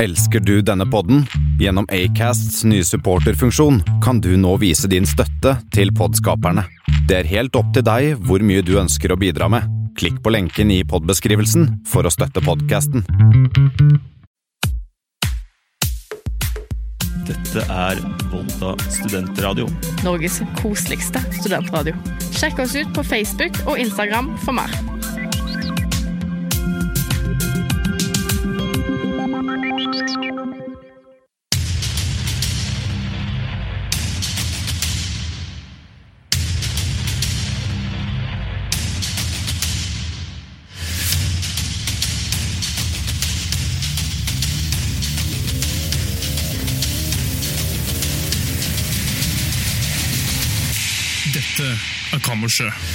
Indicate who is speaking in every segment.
Speaker 1: Elsker du denne podden? Gjennom Acasts nye supporterfunksjon kan du nå vise din støtte til podskaperne. Det er helt opp til deg hvor mye du ønsker å bidra med. Klikk på lenken i podbeskrivelsen for å støtte podkasten.
Speaker 2: Dette er Volda studentradio.
Speaker 3: Norges koseligste studentradio. Sjekk oss ut på Facebook og Instagram for mer.
Speaker 4: Dette er Kammerset.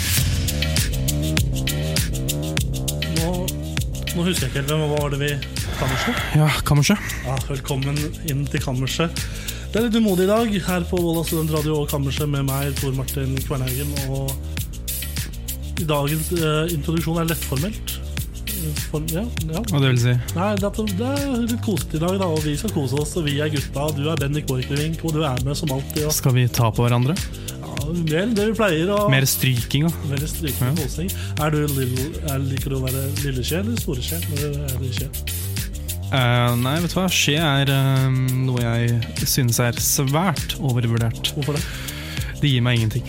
Speaker 5: Nå, nå husker jeg ikke helt hvem hva var det vi Kammerset?
Speaker 4: Ja, Kammerset.
Speaker 5: Ja, velkommen inn til Kammerset. Det er litt umodig i dag her på Volda studentradio og Kammerset med meg, Tor Martin Kvernhaugen. Og i dagens eh, introduksjon er lettformelt. Form, ja, ja.
Speaker 4: Hva det vil si?
Speaker 5: Nei, det, er- det er litt kosete i dag, da, og vi skal kose oss. Og vi er gutta, og du er Bendik Borchgrevink, og du er med som alltid. Og,
Speaker 4: Skal vi ta på hverandre?
Speaker 5: ja, mer enn det vi pleier. Og,
Speaker 4: Mer stryking, da.
Speaker 5: Veldig strykende kosing. Er du lill- er, liker du å være lille sjel eller store sjel? Eller er du sjel?
Speaker 4: Eh, nei, vet du hva. Skje er eh, noe jeg synes er svært overvurdert.
Speaker 5: Hvorfor det?
Speaker 4: Det gir meg ingenting.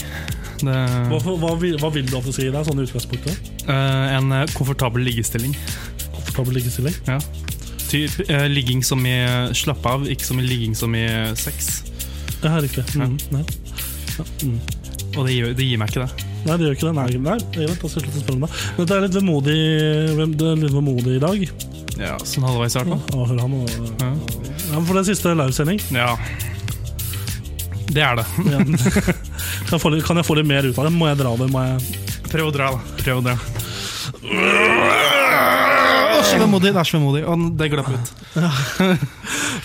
Speaker 4: Det
Speaker 5: Hva, hva, vil- hva vil du at det skal gi deg, sånn i utgangspunktet?
Speaker 4: eh, En eh, komfortabel liggestilling.
Speaker 5: Komfortabel liggestilling?
Speaker 4: Ja. Typ, eh, ligging som i slapp av, ikke som i ligging som i sex.
Speaker 5: Ja, riktig. Mm. Nei. Ja, mm.
Speaker 4: Og det gir, det gir meg ikke det.
Speaker 5: Nei, det gjør ikke det. Nei, nei. Jeg vet, da skal jeg slutte å spørre om det. Men det er litt vemodig, hvem- det er litt vemodig i dag.
Speaker 4: Ja, Sånn halvveis i hvert fall.
Speaker 5: Å, hør han og,
Speaker 4: Ja.
Speaker 5: ja, men For det er siste livesending.
Speaker 4: ja. Det er det.
Speaker 5: Ja. kan, jeg få litt- kan jeg få litt mer ut av det? Må jeg dra det? Må jeg
Speaker 4: Prøv å dra, da. Prøv å dra. Det er så vemodig. Det er så vemodig. Og det glapp ut.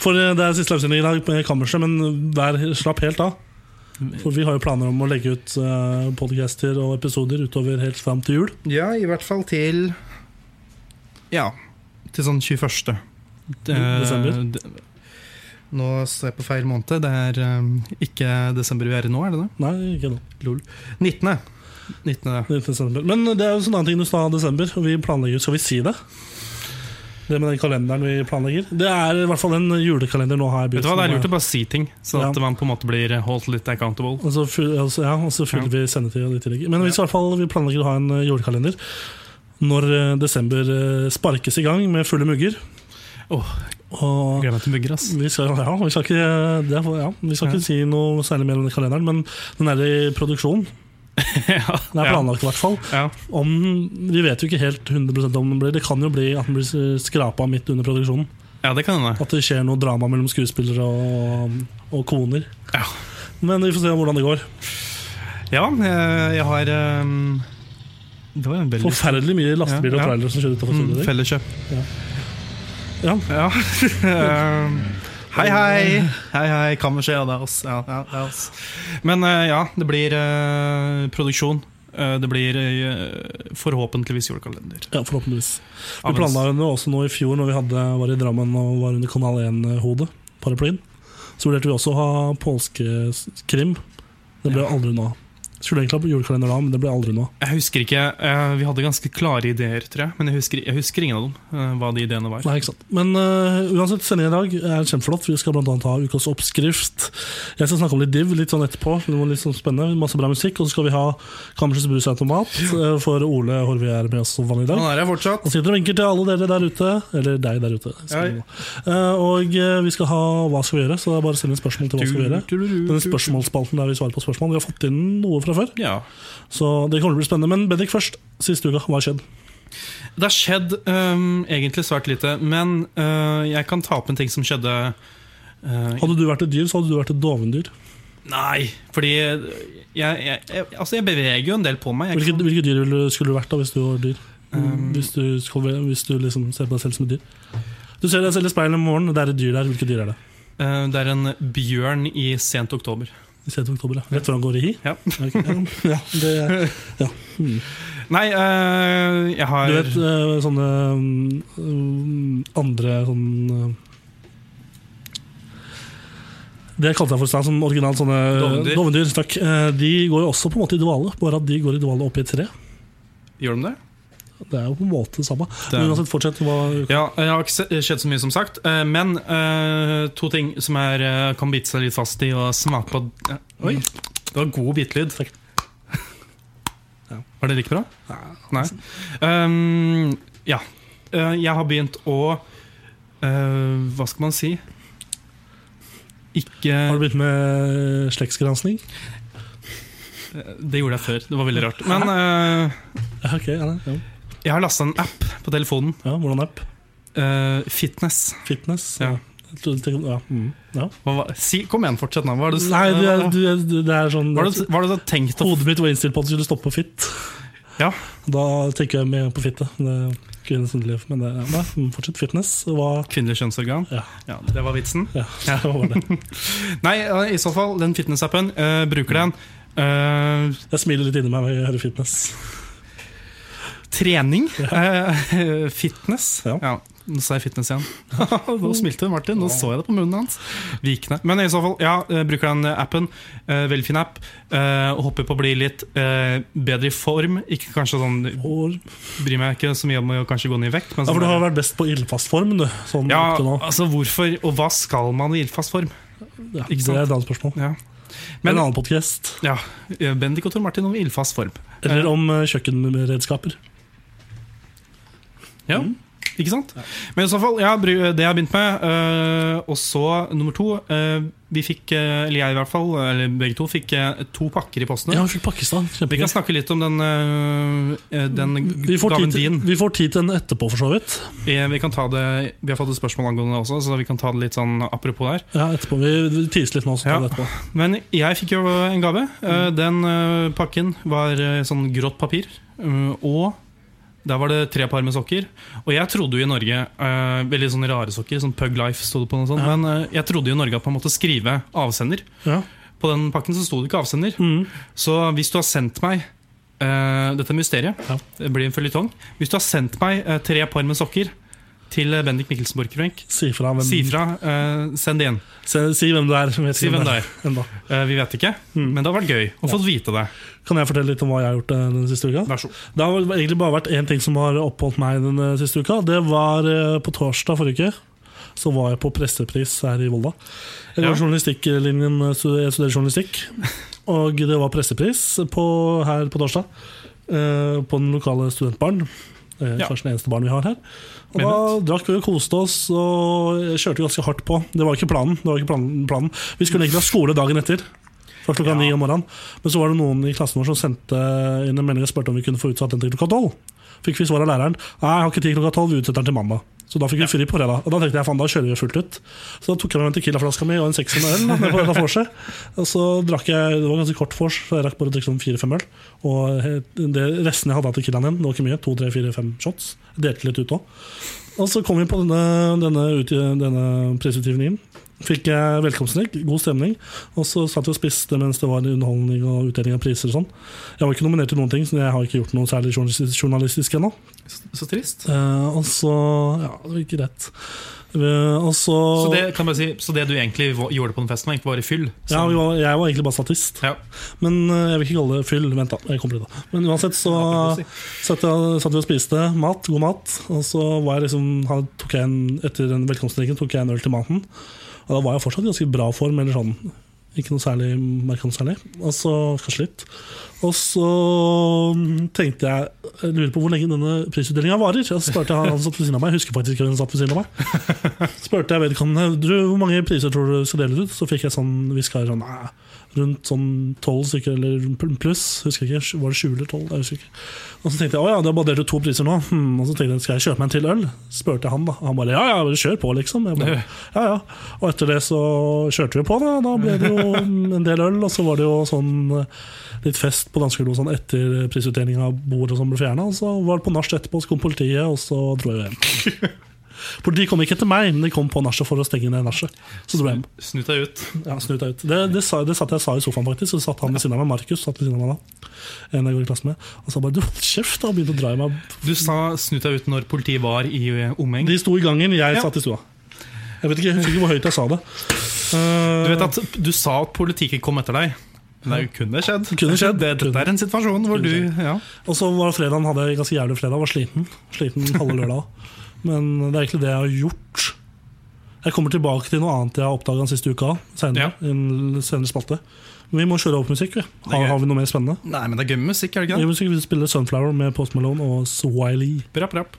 Speaker 5: For eh, det er siste livesending i dag på kammerset, men der slapp helt av. For vi har jo planer om å legge ut uh, podcaster og episoder utover helt fram til jul.
Speaker 4: Ja, i hvert fall til Ja, til sånn 21.
Speaker 5: Desember?
Speaker 4: Det- Nå står jeg på feil måned. Det er um, ikke desember vi er i nå, er det det?
Speaker 5: Nei, ikke nå.
Speaker 4: Lol. 19. 19. ja.
Speaker 5: Det er desember. Men det er jo en sånn annen ting du sa i desember. og Vi planlegger, Skal vi si det? Det med den kalenderen vi planlegger. Det er i hvert fall en julekalender nå har
Speaker 4: Vet
Speaker 5: jeg begynt
Speaker 4: du hva, Det er
Speaker 5: med.
Speaker 4: lurt å bare si ting, sånn at
Speaker 5: Ja.
Speaker 4: man på en måte blir holdt litt accountable.
Speaker 5: Og så fyller, altså, ja, og så fyller vi sendetida i tillegg. Men hvis i hvert fall vi planlegger å ha en eh, julekalender når eh, desember eh, sparkes i gang med fulle mugger.
Speaker 4: Åh,
Speaker 5: Og
Speaker 4: Gleder meg til mugger, ass.
Speaker 5: Vi skal, ja, vi skal, ikke, det, er- ja, vi
Speaker 4: Ja.
Speaker 5: skal ikke si noe særlig mer om den kalenderen, men den er i produksjon.
Speaker 4: ja,
Speaker 5: Den er planlagt, i hvert fall.
Speaker 4: Ja.
Speaker 5: Om, vi vet jo ikke helt 100 om den blir. Det kan jo bli at den blir skrapa midt under produksjonen.
Speaker 4: ja, det kan hende.
Speaker 5: At det skjer noe drama mellom skuespillere og, og koner.
Speaker 4: Ja.
Speaker 5: Men vi får se hvordan det går.
Speaker 4: Ja, jeg, jeg har um, Det var en veldig
Speaker 5: Forferdelig mye
Speaker 4: Ja, ja.
Speaker 5: lastebiler og trailere som kjører utenfor
Speaker 4: Mm,
Speaker 5: studioet ditt.
Speaker 4: Felleskjøp.
Speaker 5: Ja.
Speaker 4: Ja. Ehm, hei, hei. Hei, hei. Kammerset, ja, det er oss. Ja, ja, det er oss. Men eh, ja, det blir eh, produksjon. Eh, det blir eh, forhåpentligvis julekalender.
Speaker 5: Ja, forhåpentligvis.
Speaker 4: Ja,
Speaker 5: Vi
Speaker 4: men-
Speaker 5: planla jo også nå i fjor, når vi hadde, var i Drammen og var under Kanal 1-hodet, paraplyen. Så vurderte vi også å ha påskekrim. Det ble aldri noe av. Skulle egentlig ha julekalender da, men det ble aldri noe av.
Speaker 4: Jeg husker ikke, eh, Vi hadde ganske klare ideer, tror jeg. Men jeg husker, jeg husker ingen av dem. eh, hva de ideene var.
Speaker 5: Nei, ikke sant. Men eh, uansett, sendingen i dag er kjempeflott. Vi skal bl.a. ha ukas oppskrift. Jeg skal snakke om litt div litt sånn etterpå. Det var litt sånn spennende, Masse bra musikk. Og så skal vi ha Kammersets brusautomat, eh, for Ole Horvi er med oss som vanlig i dag.
Speaker 4: Han Sånn er her fortsatt.
Speaker 5: Han sitter og vinker til alle dere der ute. Eller deg der ute. skal vi nå. Eh, og eh, vi skal ha Hva skal vi gjøre? Så det er bare å sende spørsmål til Hva skal vi gjøre. Den spørsmålsspalten der vi svarer på spørsmål. Vi har fått inn noe fra før,
Speaker 4: Ja.
Speaker 5: så det kommer til å bli spennende. Men Bendik først. Siste uka, hva har skjedd?
Speaker 4: Det har skjedd ehm, egentlig svært lite, men eh, jeg kan ta opp en ting som skjedde eh,
Speaker 5: Hadde du vært et dyr, så hadde du vært et dovendyr.
Speaker 4: Nei, fordi jeg, jeg, jeg, altså jeg beveger jo en del på meg. Jeg
Speaker 5: Hvilket,
Speaker 4: kan,
Speaker 5: hvilket dyr ville- skulle du vært da, hvis du var dyr?
Speaker 4: Um,
Speaker 5: hvis du, skulle- hvis du liksom ser på deg selv som et dyr? Du ser deg selv i speilet om morgenen, det er et dyr der. Hvilket dyr er det?
Speaker 4: Eh, det er en bjørn i sent oktober.
Speaker 5: I stedet for oktober, ja. Rett før han går i hi?
Speaker 4: Ja.
Speaker 5: Ok, Ja, det, ja. Mm.
Speaker 4: Nei, eh, jeg
Speaker 5: Du
Speaker 4: har
Speaker 5: vet eh, sånne mm, andre sånn eh, Det kalte jeg for stand som originalt sånne
Speaker 4: Dovendyr.
Speaker 5: dovendyr. Takk. Eh, De går jo også på en måte i dvale, bare at de går i dvale opp i et tre.
Speaker 4: Gjør de det?
Speaker 5: Det er jo på en måte det samme.
Speaker 4: Det er-
Speaker 5: Men uansett, fortsett. Hva
Speaker 4: Ja, jeg har ikke se- skjedd så mye som sagt eh, Men eh, to ting som er, eh, kan bite seg litt fast i Og smake på eh, Oi, det var god bitlyd
Speaker 5: Takk. Ja.
Speaker 4: Var det like bra? Nei Ehm, Ja Eh, Jeg har begynt å eh, Hva skal man si? Ikke
Speaker 5: Har du begynt med slektsgransking?
Speaker 4: eh, Det gjorde jeg før, det var veldig rart Men eh,
Speaker 5: Ja, ok, ja, ja.
Speaker 4: jeg har lastet en app på telefonen
Speaker 5: ja, hvordan app?
Speaker 4: eh, Fitness
Speaker 5: Fitness?
Speaker 4: Ja.
Speaker 5: Jeg trodde du tenkte- Ja. Mm. ja.
Speaker 4: hva, var- si, Kom igjen, fortsett nå Hva er det,
Speaker 5: Nei, du, er- du, er- du, det er sånn
Speaker 4: hva er det, hva er det du har tenkt å
Speaker 5: Hodet mitt var innstilt på at det skulle stoppe på fitt.
Speaker 4: Ja.
Speaker 5: Da tenker jeg mer på fitte. Det er kvinnens underliv. Men det, ja, nei, mm, fortsett. Fitness. Hva
Speaker 4: Kvinnelig kjønnsorgan?
Speaker 5: Ja.
Speaker 4: Det var vitsen.
Speaker 5: Ja, det var det.
Speaker 4: Nei, eh, i så fall, den fitnessappen, eh, bruker den. Eh,
Speaker 5: Jeg smiler litt inni meg når jeg hører fitness.
Speaker 4: trening. Eh, fitness.
Speaker 5: Ja.
Speaker 4: Ja. Nå sa jeg fitness igjen. Nå smilte Martin. Nå så jeg det på munnen hans. Vikende. Men i så fall, ja, eh, bruker den appen. Eh, veldig fin app. Eh, og håper på å bli litt eh, bedre i form. Ikke kanskje sånn
Speaker 5: Og,
Speaker 4: Bryr meg ikke så mye om å kanskje gå ned i vekt. Men
Speaker 5: ja, for du
Speaker 4: sånn-
Speaker 5: har vært best på ildfast form, du. Sånn
Speaker 4: ja,
Speaker 5: opp til nå.
Speaker 4: altså hvorfor og hva skal man i ildfast form?
Speaker 5: Ja,
Speaker 4: altså, ikke
Speaker 5: det
Speaker 4: sant?
Speaker 5: er et annet spørsmål.
Speaker 4: Ja.
Speaker 5: Men,
Speaker 4: Men-
Speaker 5: en annen podkast.
Speaker 4: Ja, eh, Bendik og Tor Martin om ildfast form.
Speaker 5: Eller om eh, kjøkkenredskaper.
Speaker 4: Ja,
Speaker 5: Mm.
Speaker 4: ikke sant? Men i så fall, ja, bry- det jeg har begynt med. øh, og så nummer to. øh, vi fikk, øh, eller jeg i hvert fall, eller begge to, fikk øh, to pakker i posten.
Speaker 5: Ja, vi fikk Pakistan.
Speaker 4: Vi kan
Speaker 5: Kjempegøy.
Speaker 4: snakke litt om den, øh, øh, den
Speaker 5: Vi får,
Speaker 4: gaven
Speaker 5: tid til,
Speaker 4: din.
Speaker 5: vi får tid til en etterpå, for så vidt.
Speaker 4: Eh, Vi, kan ta det, vi har fått et spørsmål angående det også, så vi kan ta det litt sånn apropos der.
Speaker 5: Ja, etterpå. Vi, vi tiser litt nå. Så tar
Speaker 4: Ja.
Speaker 5: vi det etterpå.
Speaker 4: Men jeg fikk jo en gave. Eh, Den eh, pakken var eh, sånn grått papir. eh, Og der var det tre par med sokker. Og jeg trodde jo i Norge eh, Veldig sånne rare sokker. Sånn Pug Life sto det på. Noe sånt, Men eh, jeg trodde jo i Norge at man måtte skrive avsender.
Speaker 5: Ja.
Speaker 4: På den pakken så sto det ikke avsender.
Speaker 5: Mm.
Speaker 4: Så hvis du har sendt meg eh, Dette er mysteriet.
Speaker 5: Ja.
Speaker 4: Det blir en føljetong. Hvis du har sendt meg eh, tre par med sokker til eh, Bendik Mikkelsen Borchgrevink,
Speaker 5: Si fra hvem,
Speaker 4: si fra. eh, send det inn.
Speaker 5: si, si hvem du er. vi vet
Speaker 4: Si
Speaker 5: ikke
Speaker 4: hvem det
Speaker 5: det
Speaker 4: er.
Speaker 5: Enda.
Speaker 4: Eh, vi vet ikke,
Speaker 5: Mm.
Speaker 4: men det har vært gøy å få vite det.
Speaker 5: Kan jeg fortelle litt om hva jeg har gjort eh, den siste uka?
Speaker 4: Vær så god.
Speaker 5: Det har vel egentlig bare vært én ting som har oppholdt meg den eh, siste uka. Det var eh, på torsdag forrige uke. Så var jeg på pressepris her i Volda. Jeg
Speaker 4: Ja.
Speaker 5: går journalistikklinjen, eh, stud- jeg studerer journalistikk. Og det var pressepris på, her på torsdag. eh, På den lokale studentbaren. Eh,
Speaker 4: Ja.
Speaker 5: Kanskje den eneste baren vi har her. Og da
Speaker 4: Menighet.
Speaker 5: drakk vi og koste oss og kjørte ganske hardt på. Det var ikke planen. Det var ikke planen, planen. Vi skulle egentlig ha skole dagen etter. Fra klokka ni om morgenen. Men så var det noen i klassen vår som sendte inn en melding og spurte om vi kunne få utsatt den til klokka tolv. Fikk vi svar av læreren. Nei, jeg har ikke tid klokka tolv, vi utsetter den til mandag. Så da fikk vi fri på fredag. Og da tenkte jeg faen, da kjører vi fullt ut. Så da tok jeg med meg Tequila-flaska mi og en sekser med øl da, ned på dette vorset. Og så drakk jeg Det var ganske kort vors, så jeg rakk bare å drikke sånn fire-fem øl. Og he- det resten jeg hadde av Tequilaen igjen, det var ikke mye, to, tre, fire, fem shots. Jeg Delte litt ut òg. Og så kom vi på denne, denne, ut- denne prisutgivningen. Fikk jeg velkomstdrikk, god stemning. Og så satt jeg og spiste mens det var underholdning og utdeling av priser og sånn. Jeg var ikke nominert til noen ting, så jeg har ikke gjort noe særlig journalistisk, journalistisk ennå.
Speaker 4: Så trist.
Speaker 5: Eh, og så Ja, det gikk greit. Uh, og så
Speaker 4: Så det, kan jeg bare si, så det du egentlig va- gjorde på den festen, var egentlig bare fyll?
Speaker 5: ja, vi var, jeg var egentlig bare statist,
Speaker 4: Ja.
Speaker 5: men eh, jeg vil ikke kalle det fyll. Vent, da. jeg kommer til det Men uansett så
Speaker 4: Ja, det
Speaker 5: satt, jeg, satt vi og spiste mat, god mat. Og så var jeg liksom, han- tok jeg en, etter den velkomstdrikken tok jeg en øl til maten. Og da var jeg fortsatt i ganske bra form. Eller sånn Ikke noe særlig merka noe særlig. Og så kanskje litt. Og så mm, tenkte jeg Jeg lurer på hvor lenge denne prisutdelinga varer. Så spurte jeg han som satt ved siden av meg. Jeg husker faktisk ikke hvem som satt ved siden av meg. Spurte jeg vedkommende du, hvor mange priser tror du skal deles ut. Så fikk jeg sånn hvisker sånn «Nei, Rundt sånn tolv stykker eller pl- pluss. Husker jeg ikke, Var det sju eller tolv? Jeg husker ikke. Og så tenkte jeg å ja, det er bare delt ut to priser nå. Hmm. Og så tenkte jeg skal jeg kjøpe meg en til øl? Spurte jeg han, da. Han bare ja ja, bare kjør på, liksom. Jeg bare, ja, ja. Og etter det så kjørte vi på, da. Da ble det jo en del øl, og så var det jo sånn eh, litt fest på dansegulvet og sånn etter prisutdelinga av bordet som ble fjerna. Og så var det på nach etterpå, så kom politiet, og så dro jeg hjem. For de kom ikke etter meg, men de kom på nachet for å stenge ned nachet. Så dro jeg hjem.
Speaker 4: Snu deg ut.
Speaker 5: Ja, snu deg ut. Det, det, sa, det satt jeg sa i sofaen, faktisk. Så satt han ved siden av meg, Markus satt ved siden av meg da. En jeg går i klasse med. Og sa bare 'du, hold kjeft', da, og begynte å dra i meg.
Speaker 4: Du sa 'snu deg ut' når politiet var i eh, omheng.
Speaker 5: De sto i gangen, jeg
Speaker 4: Ja.
Speaker 5: satt i stua. Jeg vet ikke, jeg husker ikke hvor høyt jeg sa det. Eh,
Speaker 4: Du vet at du sa at politiet kom etter deg. Men det kunne skjedd.
Speaker 5: Kunne skjedd.
Speaker 4: Det, dette er en situasjon hvor du
Speaker 5: Kunne skjedd.
Speaker 4: ja.
Speaker 5: Og så var fredagen hadde jeg en ganske jævlig fredag. Var sliten. Sliten halve lørdag. Men det er egentlig det jeg har gjort. Jeg kommer tilbake til noe annet jeg har oppdaga den siste uka. Senere, i en senere spalte. Men vi må kjøre opp musikk. Vi.
Speaker 4: er
Speaker 5: Har,
Speaker 4: gøy.
Speaker 5: har vi noe mer spennende?
Speaker 4: Nei, men det er gøy med musikk, er det
Speaker 5: Ja.
Speaker 4: ikke det?
Speaker 5: Vi spiller Sunflower med Post Malone og Swiley.
Speaker 4: Brapp, brapp.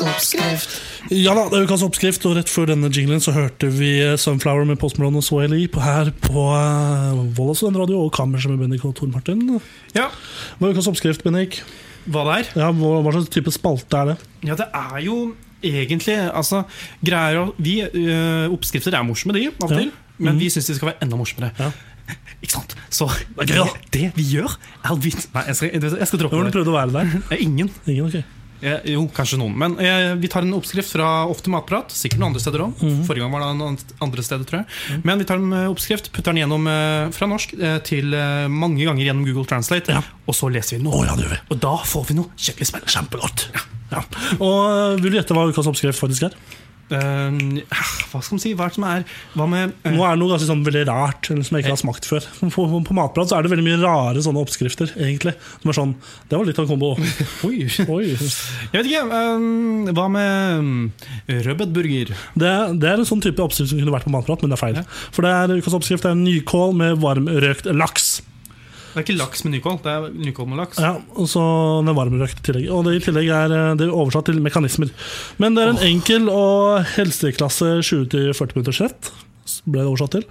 Speaker 5: Ja da, det er ukas oppskrift, og rett før denne jinglen så hørte vi eh, Sunflower med Post Malone og Swiley på, her på uh, Vollåsen radio og Kammerset med Bendik og Tor Martin.
Speaker 4: Ja,
Speaker 5: Hva er ukas oppskrift, Bendik?
Speaker 4: hva det er?
Speaker 5: Ja, hva, hva slags type spalte er det?
Speaker 4: Ja, det er jo egentlig altså, greier å vi, øh, Oppskrifter er morsomme, de, av og
Speaker 5: Ja. Mhm.
Speaker 4: til. Men vi syns de skal være enda morsommere.
Speaker 5: Ja.
Speaker 4: Ikke sant? Så
Speaker 5: er gøy, da.
Speaker 4: det vi gjør, er at vi Nei, jeg skal, jeg skal droppe
Speaker 5: Hvem var det
Speaker 4: det.
Speaker 5: prøvde å være der?
Speaker 4: Eh, Ingen.
Speaker 5: Ingen, ok.
Speaker 4: Eh, Jo, kanskje noen. Men eh, vi tar en oppskrift fra Ofte matprat. Sikkert noen andre steder òg.
Speaker 5: Mhm.
Speaker 4: Forrige gang var det noen andre steder, tror jeg. Men vi tar en eh, oppskrift, putter den gjennom eh, fra norsk eh, til eh, mange ganger gjennom Google Translate,
Speaker 5: Ja.
Speaker 4: og så leser vi den.
Speaker 5: Å ja, det gjør vi.
Speaker 4: Og da får vi noe skikkelig spennende. Kjempegodt. Ja.
Speaker 5: Ja. Og øh, vil du gjette hva ukas oppskrift faktisk er?
Speaker 4: Eh, hva skal man si? Hva er det som er Hva med eh,
Speaker 5: Nå er det noe ganske sånn veldig rart eller som jeg ikke har smakt før. På, på, på Matprat så er det veldig mye rare sånne oppskrifter, egentlig. Som er sånn Det var litt av en kombo.
Speaker 4: Oi! Jeg
Speaker 5: Oi.
Speaker 4: vet ikke. eh, hva med um, rødbetburger?
Speaker 5: Det, det er en sånn type oppskrift som kunne vært på Matprat, men det er feil. For det er ukas oppskrift det er nykål med varmrøkt laks.
Speaker 4: Det er ikke laks med nykål, det er nykål med laks.
Speaker 5: Ja, og så den varmrøkt i tillegg. Og det i tillegg er eh, det er oversatt til mekanismer. Men det er en enkel og helseklasse 20-40 minutters rett. Ble det oversatt til.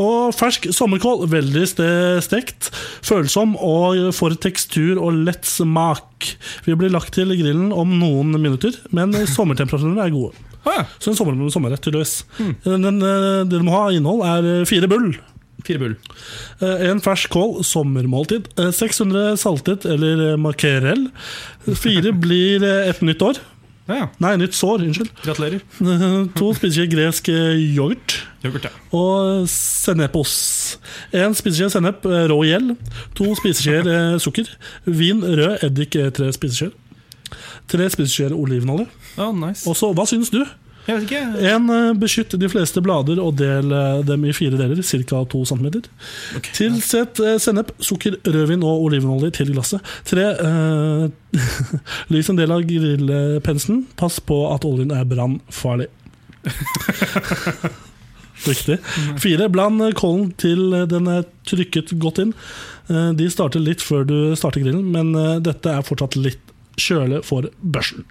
Speaker 5: Og fersk sommerkål. Veldig ste stekt. Følsom og får tekstur og lett smak. Vi blir lagt til grillen om noen minutter, men sommertemperaturene er gode.
Speaker 4: Ah, ja.
Speaker 5: Så en sommer, sommerrett til løs.
Speaker 4: Hmm.
Speaker 5: Den, den, eh, det du må ha av innhold, er eh, fire bull.
Speaker 4: Fire bull.
Speaker 5: Eh, En fersk kål, sommermåltid. Eh, 600 saltet eller eh, makrell. Fire blir eh, et nytt år.
Speaker 4: Ja, ja.
Speaker 5: Nei, nytt sår, unnskyld.
Speaker 4: Gratulerer.
Speaker 5: Eh, To spiseskjeer gresk eh, yoghurt.
Speaker 4: Yoghurt, ja.
Speaker 5: Og sennepos. Én spiseskje sennep, eh, rå gjeld. To spiseskjeer eh, sukker. Vin, rød eddik, eh, tre spiseskjeer. Tre spiseskjeer olivenolje.
Speaker 4: Ja, nice.
Speaker 5: Og så, hva syns du?
Speaker 4: Jeg vet ikke.
Speaker 5: En, eh, beskytt de fleste blader og del eh, dem i fire deler, ca. 2 cm. Tilsett eh, sennep, sukker, rødvin og olivenolje til glasset. Tre, eh, Lys en del av grillpensen. Pass på at oljen er brannfarlig. Riktig. Fire, bland eh, kålen til den er trykket godt inn. Eh, De starter litt før du starter grillen, men eh, dette er fortsatt litt kjøle for børsen.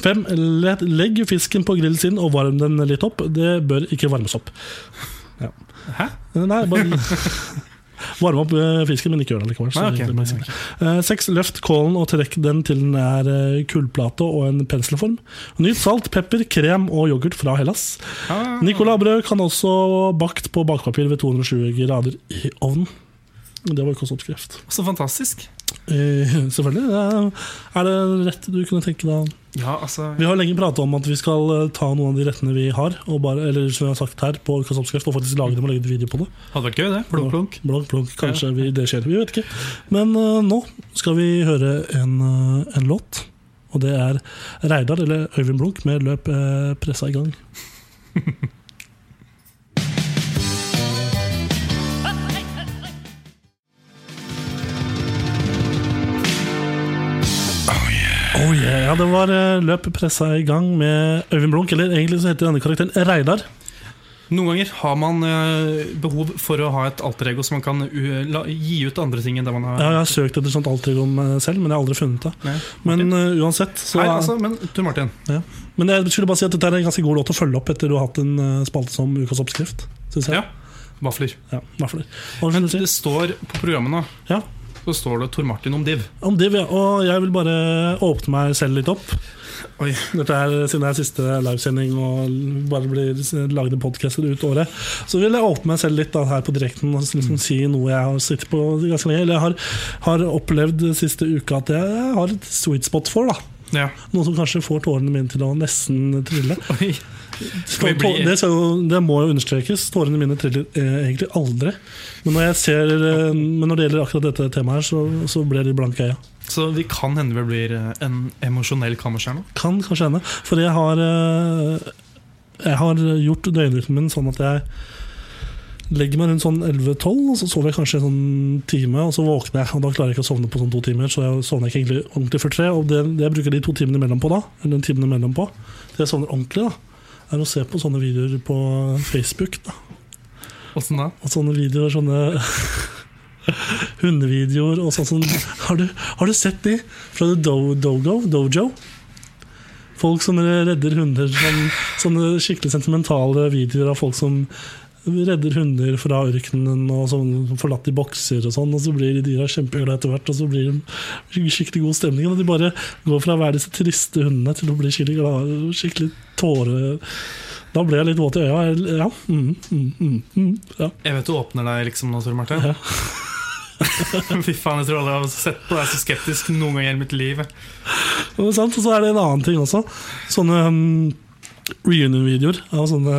Speaker 5: Fem, let- legg fisken på grillen sin og varm den litt opp. Det bør ikke varmes opp. Ja.
Speaker 4: Hæ?
Speaker 5: Eh, Nei, bare varme opp eh, fisken, men ikke gjør det likevel. så
Speaker 4: Nei, Ah, ok.
Speaker 5: det blir sikkert. Eh, Seks, løft kålen og trekk den til den er eh, kullplate og en penselform. Nyt salt, pepper, krem og yoghurt fra Hellas.
Speaker 4: Ah.
Speaker 5: Nicolabrød kan også bakt på bakepapir ved 220 grader i ovnen. Det var ukas oppskrift.
Speaker 4: Så fantastisk.
Speaker 5: Eh, selvfølgelig. det Er er det rett du kunne tenke deg?
Speaker 4: Ja, altså
Speaker 5: Vi har lenge prata om at vi skal eh, ta noen av de rettene vi har, og bare, eller som vi har sagt her, på ukas oppskrift, og faktisk lage dem og legge ut video på det.
Speaker 4: Hadde vært gøy, det. Plunk, plunk.
Speaker 5: Blunk, blunk. Kanskje vi, det skjer. Vi vet ikke. Men eh, nå skal vi høre en, eh, en låt. Og det er Reidar, eller Øyvind Blunk, med 'Løp eh, pressa i gang'. Oh yeah. Ja, det var eh, 'Løp pressa i gang' med Øyvind Blunk. Eller egentlig så heter denne karakteren Reidar.
Speaker 4: Noen ganger har man eh, behov for å ha et alter ego som man kan u la gi ut andre ting enn det man har.
Speaker 5: Ja, jeg har søkt etter sånt alter ego om meg selv, men jeg har aldri funnet det.
Speaker 4: Nei.
Speaker 5: Men eh, uansett, så
Speaker 4: Nei, altså, men du, Martin.
Speaker 5: ja. Men jeg skulle bare si at dette er en ganske god låt å følge opp etter du har hatt en eh, spalte som Ukas oppskrift. Synes jeg.
Speaker 4: Ja. Vafler.
Speaker 5: Ja, i hvert fall. Hva skulle du
Speaker 4: Det
Speaker 5: si?
Speaker 4: står på programmet nå
Speaker 5: Ja,
Speaker 4: Så står det Tor Martin om div.
Speaker 5: om det vil jeg, og jeg vil bare åpne meg selv litt opp.
Speaker 4: Oi.
Speaker 5: Dette er siden det er siste livesending og bare blir lagde podcaster ut året. Så vil jeg åpne meg selv litt da, her på direkten og liksom
Speaker 4: Mm.
Speaker 5: si noe jeg har sittet på ganske lenge. Eller jeg har, har opplevd siste uka at jeg har et sweet spot for. da
Speaker 4: Ja.
Speaker 5: Noe som kanskje får tårene mine til å nesten trille.
Speaker 4: Oi. vi
Speaker 5: Tå-
Speaker 4: bli-
Speaker 5: Det, skal jo, det må jo understrekes. Tårene mine triller eh, egentlig aldri. Men når, jeg ser, eh, men når det gjelder akkurat dette temaet, her, så, så ble de blanke øya.
Speaker 4: Så vi kan hende vi blir eh, en emosjonell kammerskjær nå.
Speaker 5: Kan kanskje hende. For jeg har, eh, jeg har gjort døgnrytmen min sånn at jeg legger meg rundt sånn 11-12, og så sover jeg kanskje en sånn time, og så våkner jeg. Og da klarer jeg ikke å sovne på sånn to timer, så jeg sovner ikke egentlig ordentlig før tre. Og det, det jeg bruker de to timene imellom på da, eller den timen imellom på, til jeg sovner ordentlig, da, er å se på sånne videoer på Facebook. da.
Speaker 4: Åssen da?
Speaker 5: Og sånne videoer, sånne hundevideoer og sånn som har, du- har du sett de fra The Do Dogo? Dojo? Folk som redder hunder. Sånn, sånne skikkelig sentimentale videoer av folk som redder hunder fra ørkenen og sånn, forlatt i bokser og sånn. Og så blir de dyra kjempeglade etter hvert, og så blir det skikkelig god stemning. Og de bare går fra å være disse triste hundene til å bli skikkelig glade, skikkelig tåre... Da ble jeg litt våt i øya. Jeg- Ja. Mm, mm, mm, mm, ja.
Speaker 4: Jeg vet du åpner deg liksom nå, Tor Martin.
Speaker 5: Ja.
Speaker 4: Fy faen, jeg tror aldri jeg har sett på deg så skeptisk noen gang i hele mitt liv.
Speaker 5: Ja, det er sant? Og så er det en annen ting også. Sånne um, reunion-videoer av sånne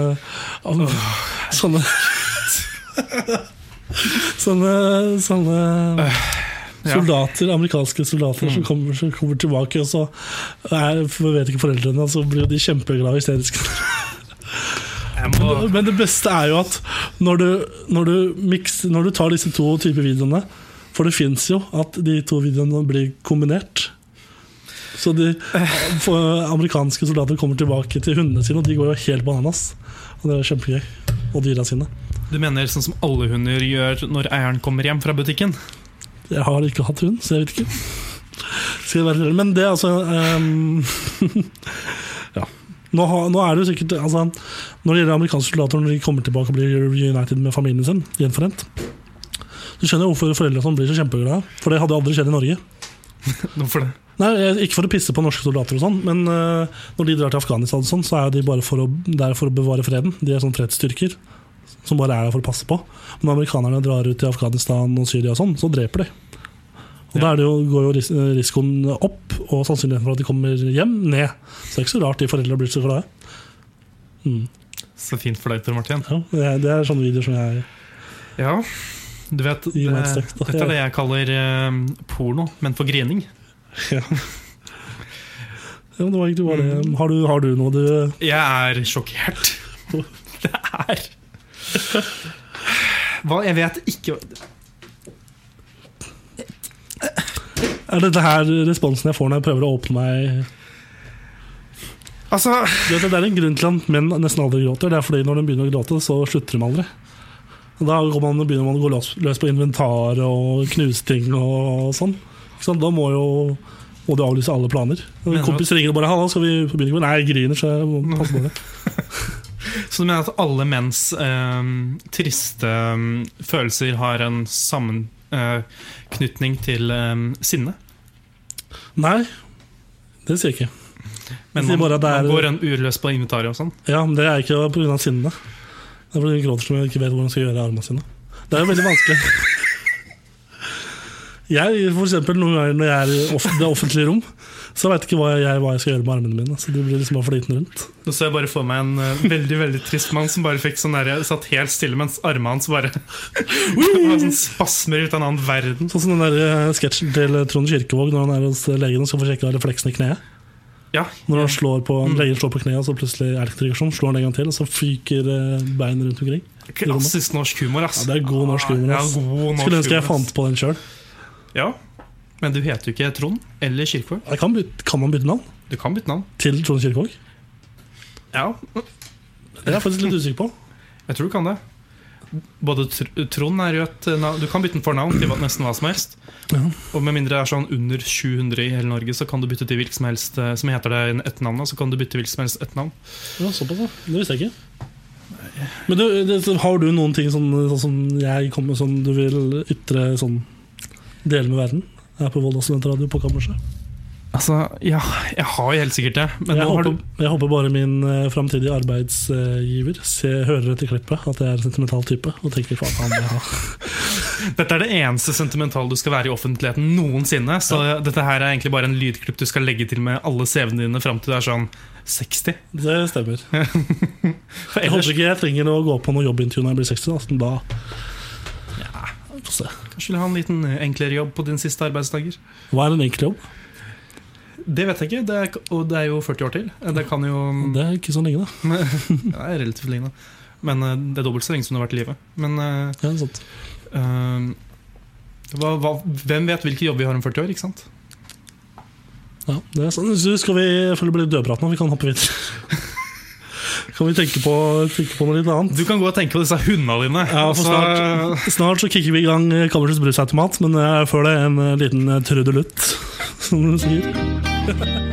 Speaker 5: av, Sånne Sånne, sånne
Speaker 4: Ja.
Speaker 5: soldater, amerikanske soldater som, kommer, som kommer tilbake, og så er, for- vet ikke foreldrene, og så blir jo de kjempeglade og hysteriske.
Speaker 4: Jeg må,
Speaker 5: Men det beste er jo at når du, når du, mix, når du tar disse to typer videoene For det fins jo at de to videoene blir kombinert. Så de for amerikanske soldater kommer tilbake til hundene sine, og de går jo helt bananas. Og det er kjempegøy. Og dyra sine.
Speaker 4: du mener sånn som alle hunder gjør når eieren kommer hjem fra butikken?
Speaker 5: Jeg har ikke hatt hund, så jeg vet ikke. Skal jeg være ærlig. Men det er altså ehm, Ja. Nå, har, nå er det jo sikkert altså, Når det gjelder amerikanske soldater når de kommer tilbake og blir reunited med familien sin, gjenforent Du skjønner jeg hvorfor foreldre som blir så kjempeglade. For det hadde aldri skjedd i Norge.
Speaker 4: Hvorfor det?
Speaker 5: Nei, jeg- Ikke for å pisse på norske soldater, og sånn men eh, når de drar til Afghanistan, og sånn, så er de bare for å, der for å bevare freden. De er sånn fredsstyrker som bare er der for å passe på. Men når amerikanerne drar ut til Afghanistan og Syria, og sånn, så dreper de. Og Da er det jo, går jo ris risikoen opp, og sannsynligheten for at de kommer hjem, ned. Så det er ikke så rart de foreldra blir så glade.
Speaker 4: Så fint for deg, Tor Martin.
Speaker 5: Ja, det, er, det er sånne videoer som jeg
Speaker 4: Ja, du vet det,
Speaker 5: Gi meg et støkk, da.
Speaker 4: Dette er det jeg kaller eh, porno, men for grining.
Speaker 5: Ja, ja men det var egentlig bare det. Har du, har du noe du
Speaker 4: Jeg er sjokkert. Det er Hva? Jeg vet ikke
Speaker 5: Er dette her responsen jeg får når jeg prøver å åpne meg
Speaker 4: Altså
Speaker 5: Du vet, Det er en grunn til at menn nesten aldri gråter. Det er fordi når de begynner å gråte, så slutter de aldri. Og Da går man, begynner man å gå løs, løs på inventar og knuse ting og sånn. Ikke sant? Da må jo må du avlyse alle planer. Og
Speaker 4: Men-
Speaker 5: En kompis ringer og bare 'Halla, skal vi på byen i kveld?' Nei, jeg griner, så jeg må passe på det.
Speaker 4: Så du mener at alle menns eh, triste eh, følelser har en sammenknytning til eh, sinne?
Speaker 5: Nei, det sier jeg ikke.
Speaker 4: Men
Speaker 5: Jeg sier
Speaker 4: man,
Speaker 5: bare at det er-
Speaker 4: man går en urløs på inventaret og sånn?
Speaker 5: Ja, men Det er ikke pga. sinnet. Det er fordi hun gråter som hun ikke vet hvordan hun skal gjøre av armene sine. Det er jo veldig vanskelig. Jeg, for eksempel, Noen ganger når jeg er i off det offentlige rom, så veit jeg ikke hva jeg, hva jeg skal gjøre med armene mine. Så de blir liksom bare flytende rundt.
Speaker 4: Nå ser jeg bare for meg en eh, veldig veldig trist mann som bare fikk sånn der, satt helt stille, mens armene hans bare Det var sånn spasmer ut av en annen verden.
Speaker 5: Sånn som den der eh, sketsjen til Trond Kirkevåg når han er hos legen og skal få sjekka refleksen i kneet.
Speaker 4: Ja, Mm.
Speaker 5: Når han slår på, legen slår på kneet, og så plutselig er det ikke trigger som, slår han en gang til, og så fyker eh, beinet rundt omkring.
Speaker 4: Klassisk norsk humor, ass.
Speaker 5: Ja, det er god norsk humor.
Speaker 4: Ja,
Speaker 5: ass.
Speaker 4: god norsk
Speaker 5: Skulle ønske jeg
Speaker 4: humor, ass.
Speaker 5: fant på den sjøl.
Speaker 4: Ja, men du heter jo ikke Trond eller Kirkevåg.
Speaker 5: Kan, byt- kan man bytte navn
Speaker 4: Du kan bytte navn.
Speaker 5: til Trond Kirkevåg?
Speaker 4: Ja,
Speaker 5: Det er jeg faktisk litt usikker på.
Speaker 4: jeg tror du kan det. Både Tr- Trond er jo et navn Du kan bytte fornavn til hva- nesten hva som helst.
Speaker 5: Ja.
Speaker 4: Og med mindre det er sånn under 700 i hele Norge, så kan du bytte til hvilket som helst eh, som heter det etternavnet. Så kan du bytte til hvilket som helst etternavn.
Speaker 5: Ja, såpass, ja. Det visste jeg ikke. Men du, det, så har du noen ting sånn, sånn som jeg kommer som du vil ytre sånn Dele med verden? Jeg er på Volda studentradio på kammerset.
Speaker 4: Altså, ja, jeg har jo helt sikkert det. Men
Speaker 5: Jeg,
Speaker 4: nå har
Speaker 5: håper-
Speaker 4: du
Speaker 5: jeg håper bare min eh, framtidige arbeidsgiver se, hører etter klippet at jeg er en sentimental type. Og tenker faen, han, ja.
Speaker 4: Dette er det eneste sentimentale du skal være i offentligheten noensinne. Så dette her er egentlig bare en lydklipp du skal legge til med alle CV-ene dine fram til du er sånn 60.
Speaker 5: Det stemmer.
Speaker 4: For
Speaker 5: Jeg
Speaker 4: ellers
Speaker 5: håper ikke jeg trenger å gå på noe jobbintervju når jeg blir 60. Altså, da Vi får se.
Speaker 4: kanskje du ha en liten eh, enklere jobb på dine siste arbeidsdager.
Speaker 5: Hva er en enkel jobb?
Speaker 4: Det vet jeg ikke, det er, og det er jo 40 år til. Det kan jo
Speaker 5: Det er ikke så lenge, da.
Speaker 4: Det er relativt lignende. Men eh, det er dobbelt så lenge som det har vært i livet. Men eh,
Speaker 5: Ja, sant.
Speaker 4: eh, hva, hva, hvem vet hvilke jobber vi har om 40 år, ikke sant?
Speaker 5: Ja, det er sant. Så skal vi jeg føler det blir dødprat nå. Vi kan hoppe videre. kan vi tenke på, tenke på noe litt annet?
Speaker 4: Du kan gå og tenke på disse hundene dine. Altså, eh,
Speaker 5: Ja, for
Speaker 4: og så-
Speaker 5: snart, snart så kicker vi i gang eh, Kammersets brusautomat, men eh, før det en eh, liten eh, trudelutt, som du sier.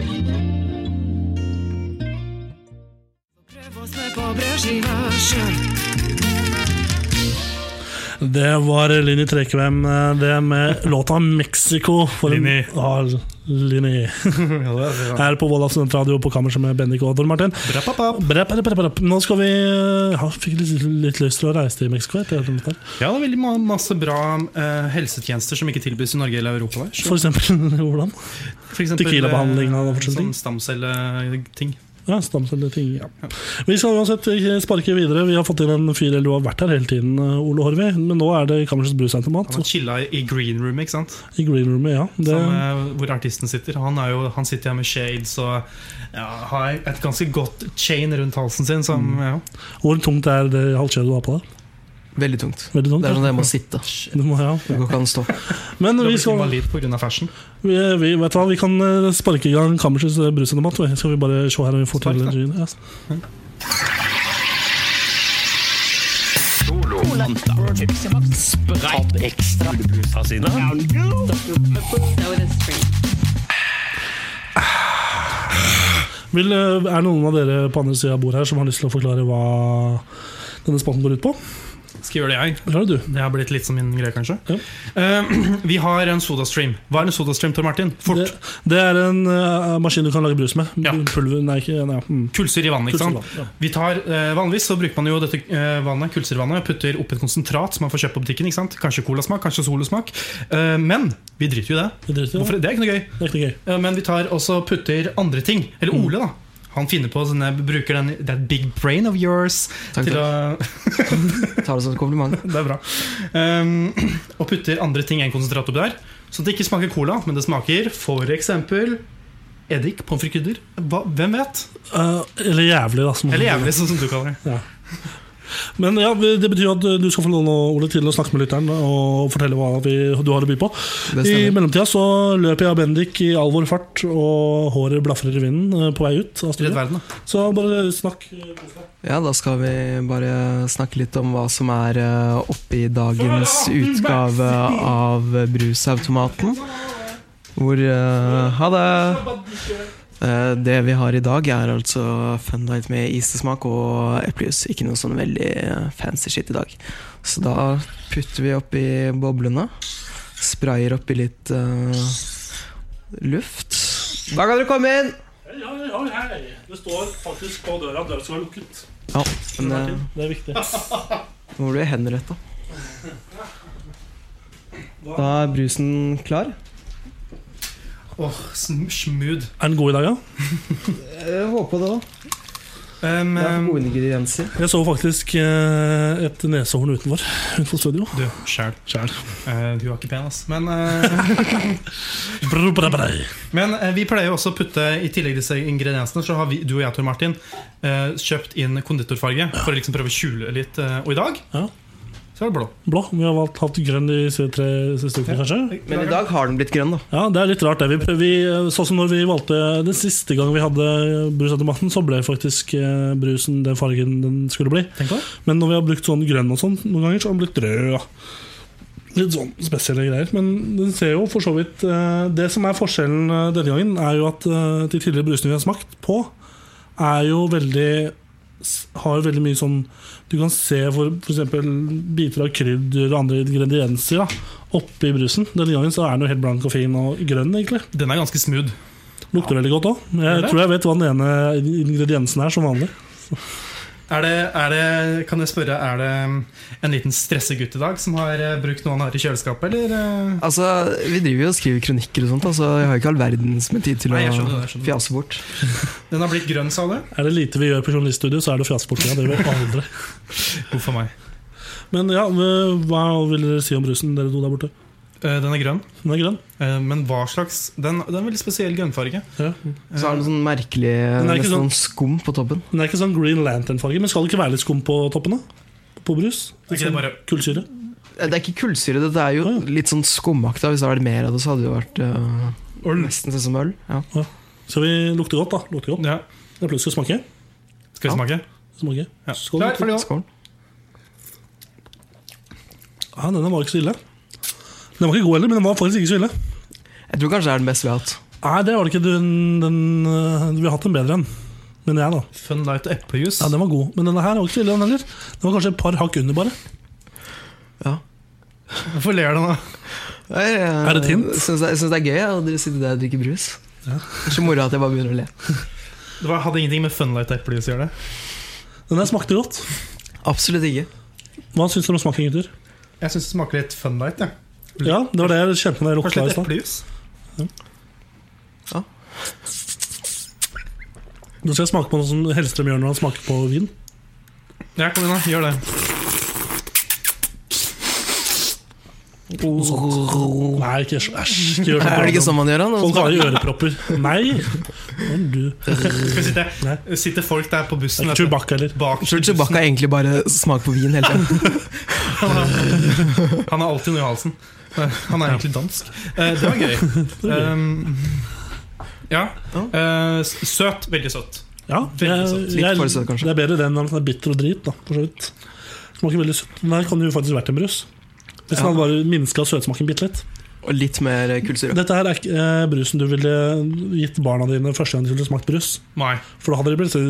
Speaker 5: Det var Linni Trekvem, eh, det med låta 'Mexico'. for en-
Speaker 4: Linni.
Speaker 5: Ja, Linni. Her på Volda studentradio på kammerset med Bendik og Tor Martin.
Speaker 4: Brapapap.
Speaker 5: Brep, brep, brep, brep. Nå skal vi ja, Fikk litt, litt lyst til å reise til Mexico. Etter dette. her.
Speaker 4: Ja, det er veldig ma- masse bra eh, helsetjenester som ikke tilbys i Norge eller Europa. Der. Så
Speaker 5: For eksempel hvordan?
Speaker 4: for eksempel,
Speaker 5: Tequila-behandling og
Speaker 4: eh,
Speaker 5: for sånne ting.
Speaker 4: Sånn stamcelleting.
Speaker 5: Ja, stamcelleting. Ja. Vi skal uansett sparke videre. Vi har fått inn en fyr, eller du har vært her hele tiden, eh, Ole Horvi. Men nå er det Kammersets brusautomat.
Speaker 4: Han chilla i green room, ikke sant?
Speaker 5: I green roomet, ja. Det,
Speaker 4: Som, eh, hvor artisten sitter. Han, er jo, han sitter her med shades og ja, har et ganske godt chain rundt halsen sin. Som,
Speaker 5: Mm.
Speaker 4: ja.
Speaker 5: hvor tungt er det halskjedet du har på deg?
Speaker 6: Veldig tungt.
Speaker 5: Veldig tungt?
Speaker 6: Det er
Speaker 5: ja.
Speaker 6: sånn at jeg må sitte.
Speaker 5: Du må, ja.
Speaker 6: Du kan ikke stå.
Speaker 5: Men
Speaker 4: Da
Speaker 5: vi
Speaker 4: blir du
Speaker 5: skal
Speaker 4: invalid pga. fashion.
Speaker 5: vi, vi, vet du hva, vi kan eh, sparke i gang Kammersets brusautomat. vi. Skal vi bare se her om vi får til
Speaker 4: Spark, da.
Speaker 5: energien? Ja. Vil, eh, er det noen av dere på andre sida av bordet her som har lyst til å forklare hva denne spalten går ut på?
Speaker 4: Skal gjøre det, jeg.
Speaker 5: Eller er det du?
Speaker 4: Det har blitt litt som min greie, kanskje.
Speaker 5: Ja.
Speaker 4: Eh, vi har en sodastream. Hva er en sodastream, Tor Martin? Fort.
Speaker 5: Det, det er en eh, maskin du kan lage brus med.
Speaker 4: Ja.
Speaker 5: Pulver, nei, ikke, nei. Mm.
Speaker 4: Kullsyre i vann. ikke sant?
Speaker 5: Kullsyre i vann,
Speaker 4: Vi tar, eh, Vanligvis så bruker man jo dette eh, vannet, kullsyrevannet og putter oppi et konsentrat som man får kjøpt på butikken. ikke sant? Kanskje colasmak, kanskje solosmak. Eh, men vi driter jo i det.
Speaker 5: Det driter jeg i.
Speaker 4: Hvorfor? Det er ikke noe gøy.
Speaker 5: Det er ikke noe gøy.
Speaker 4: Eh, men vi tar også putter andre ting. Eller
Speaker 5: Mm.
Speaker 4: Ole, da. Han finner på sånne, bruker den that big brain of yours
Speaker 6: Takk,
Speaker 4: til å
Speaker 6: Tar det som et kompliment.
Speaker 4: Det er bra. Um, og putter andre ting enn konsentrat oppi der. Så det ikke smaker cola, men det smaker f.eks. eddik, pommes frites, hva- hvem vet?
Speaker 5: Eh, eller jævlig, da. Som
Speaker 4: Eller jævlig, sånn som du kaller det.
Speaker 5: Men ja, det betyr at eh, du skal få låne Ole til å snakke med lytteren og fortelle hva vi, du har å by på. I
Speaker 6: Det stemmer.
Speaker 5: mellomtida så løper jeg og Bendik i all vår fart, og håret blafrer i vinden eh, på vei ut. av
Speaker 4: Redd
Speaker 5: studiet.
Speaker 4: verden, da.
Speaker 5: Så bare snakk.
Speaker 6: Ja, da skal vi bare snakke litt om hva som er eh, oppe i dagens utgave av Brusautomaten. Hvor eh, Ha det! Eh, Det vi har i dag, er altså Fun Night med isesmak og eplejus. Ikke noe sånn veldig eh, fancy shit i dag. Så da putter vi oppi boblene. Sprayer oppi litt eh, luft. Da kan dere komme inn!
Speaker 5: Det står faktisk på døra at døra skal være lukket.
Speaker 6: Ja, men eh,
Speaker 5: Det er viktig.
Speaker 6: Nå blir du henretta. Da er brusen klar.
Speaker 4: Åh, sm- smooth.
Speaker 5: Er den god i dag, ja?
Speaker 6: Jeg håper det òg.
Speaker 4: Um, um,
Speaker 6: Gode ingredienser.
Speaker 5: Jeg så faktisk eh, et nesehorn utenfor, utenfor studio.
Speaker 4: du, sjæl.
Speaker 5: Sjæl.
Speaker 4: Eh, du er ikke pen, ass. Men, eh,
Speaker 5: Brr, brr, brr.
Speaker 4: men eh, vi pleier jo også å putte i tillegg disse ingrediensene, så har vi, du og jeg, Tor Martin, eh, kjøpt inn konditorfarge for å liksom prøve å skjule litt. eh, og i dag
Speaker 5: Ja.
Speaker 4: så er det blå.
Speaker 5: Blå. Vi har valgt hatt grønn de tre siste ukene, kanskje.
Speaker 6: Men i dag har den blitt grønn, da.
Speaker 5: Ja, Det er litt rart. det. Vi prøv, vi, eh, sånn som når vi valgte Den siste gang vi hadde brusautomaten, så ble faktisk eh, brusen den fargen den skulle bli.
Speaker 4: Tenk på det.
Speaker 5: Men når vi har brukt sånn grønn og sånn noen ganger, så har den blitt rød. Ja. Litt sånn spesielle greier. Men den ser jo for så vidt eh, Det som er forskjellen eh, denne gangen, er jo at eh, de tidligere brusene vi har smakt på, er jo veldig s- har veldig mye sånn Du kan se for f.eks. biter av krydder og andre ingredienser da, oppi brusen. Denne gangen så er den jo helt blank og fin og grønn, egentlig.
Speaker 4: Den er ganske smooth.
Speaker 5: Lukter veldig godt òg. Jeg
Speaker 4: det?
Speaker 5: tror jeg vet hva den ene ingrediensen er, som vanlig.
Speaker 4: Er det, er det, kan jeg spørre, er det um, en liten stressegutt i dag som har eh, brukt noe han har i kjøleskapet, eller? eh?
Speaker 6: Altså, Vi driver jo og skriver kronikker og sånt, altså, jeg har ikke all verdens med tid til
Speaker 4: Nei, jeg
Speaker 6: å
Speaker 4: skjønner det, jeg skjønner det.
Speaker 6: fjase bort.
Speaker 4: Den har blitt grønn, sa du?
Speaker 5: Er det lite vi gjør på journaliststudio, så er det fraseportinga. Det gjør vi aldri.
Speaker 4: Huff a meg.
Speaker 5: Men ja, hva vil dere si om brusen, dere to der borte?
Speaker 4: Eh, Den er grønn,
Speaker 5: Den er grønn.
Speaker 4: eh, men hva slags Den, det er en veldig spesiell grønnfarge.
Speaker 5: Ja.
Speaker 6: Så er det noe sånn merkelig
Speaker 5: Den er ikke
Speaker 6: nesten
Speaker 5: sånn-
Speaker 6: sånn skum på toppen.
Speaker 5: Den er ikke sånn Green Lantern-farge, men skal det ikke være litt skum på toppen? da? På brus?
Speaker 4: Er ikke det bare
Speaker 5: Kullsyre?
Speaker 6: Det er ikke kullsyre, det er jo
Speaker 5: Å, ja.
Speaker 6: litt sånn skumaktig. Hvis det hadde vært mer av det, så hadde det jo vært øh,
Speaker 4: Øl.
Speaker 6: nesten sånn som øl. Ja.
Speaker 5: Så vi lukter godt, da. Lukter godt.
Speaker 4: Ja.
Speaker 5: Det er plutselig å smake.
Speaker 4: Skal vi smake?
Speaker 5: smake.
Speaker 4: Ja.
Speaker 5: Skål.
Speaker 4: Klar, ferdig, nå.
Speaker 6: Skål.
Speaker 5: Ja, denne var ikke så ille. Den var ikke god heller, men den var faktisk ikke så ille.
Speaker 6: Jeg tror kanskje det er den beste vi har hatt.
Speaker 5: Nei, det var det ikke. Den, den, øh, vi har hatt en bedre en. Men jeg, da.
Speaker 4: Fun light eplejus.
Speaker 5: Ja, den var god. Men denne her var ikke så ille, den heller. Den var kanskje et par hakk under, bare.
Speaker 6: Ja.
Speaker 4: Hvorfor ler du nå?
Speaker 6: Jeg,
Speaker 5: Er det et hint?
Speaker 6: Syns det, jeg synes det er gøy ja, å sitte der og drikke brus. Det er så moro at jeg bare begynner å le.
Speaker 4: Det var, hadde ingenting med fun light eplejus å gjøre. det
Speaker 5: Den der smakte godt.
Speaker 6: Absolutt ikke.
Speaker 5: Hva syns dere om smaken, gutter?
Speaker 4: Jeg syns det smaker litt fun light. Ja.
Speaker 5: Ja, det var det jeg kjente når jeg lukta
Speaker 4: Kanskje
Speaker 5: i
Speaker 4: litt
Speaker 5: stad.
Speaker 4: eplejus?
Speaker 5: Du skal smake på noe som Hellstrøm gjør når han smaker på vin.
Speaker 4: Ja, kom igjen, da. Gjør det.
Speaker 5: Nei, ikke æsj. æsj, Ikke gjør sånn.
Speaker 6: Er det ikke sånn man gjør det?
Speaker 5: Folk har jo ørepropper. Nei! Men du Det
Speaker 4: Skal sitte,
Speaker 5: Nei.
Speaker 4: sitter folk der på bussen
Speaker 5: er ikke
Speaker 4: vet du,
Speaker 5: Chewbacca heller.
Speaker 4: bak
Speaker 6: Tror du Chewbacca egentlig bare smaker på vin hele tiden?
Speaker 4: Han har alltid noe i halsen. Eh, Han er egentlig dansk. Eh, Det var gøy. Um, ja. Eh, s- Søt. Veldig søt.
Speaker 5: Ja,
Speaker 4: Veldig søtt.
Speaker 5: jeg-
Speaker 6: Litt for søt, kanskje.
Speaker 5: Det er bedre den enn at den er bitter og drit, da, for så vidt. Smaker veldig søtt. Den her kan jo faktisk vært en brus. Hvis den hadde bare minska søtsmaken bitte litt.
Speaker 6: Og litt mer eh, kullsyre.
Speaker 5: Dette her er ikke eh, brusen du ville gitt barna dine første gang de skulle smakt brus.
Speaker 4: Nei.
Speaker 5: For da hadde de blitt så-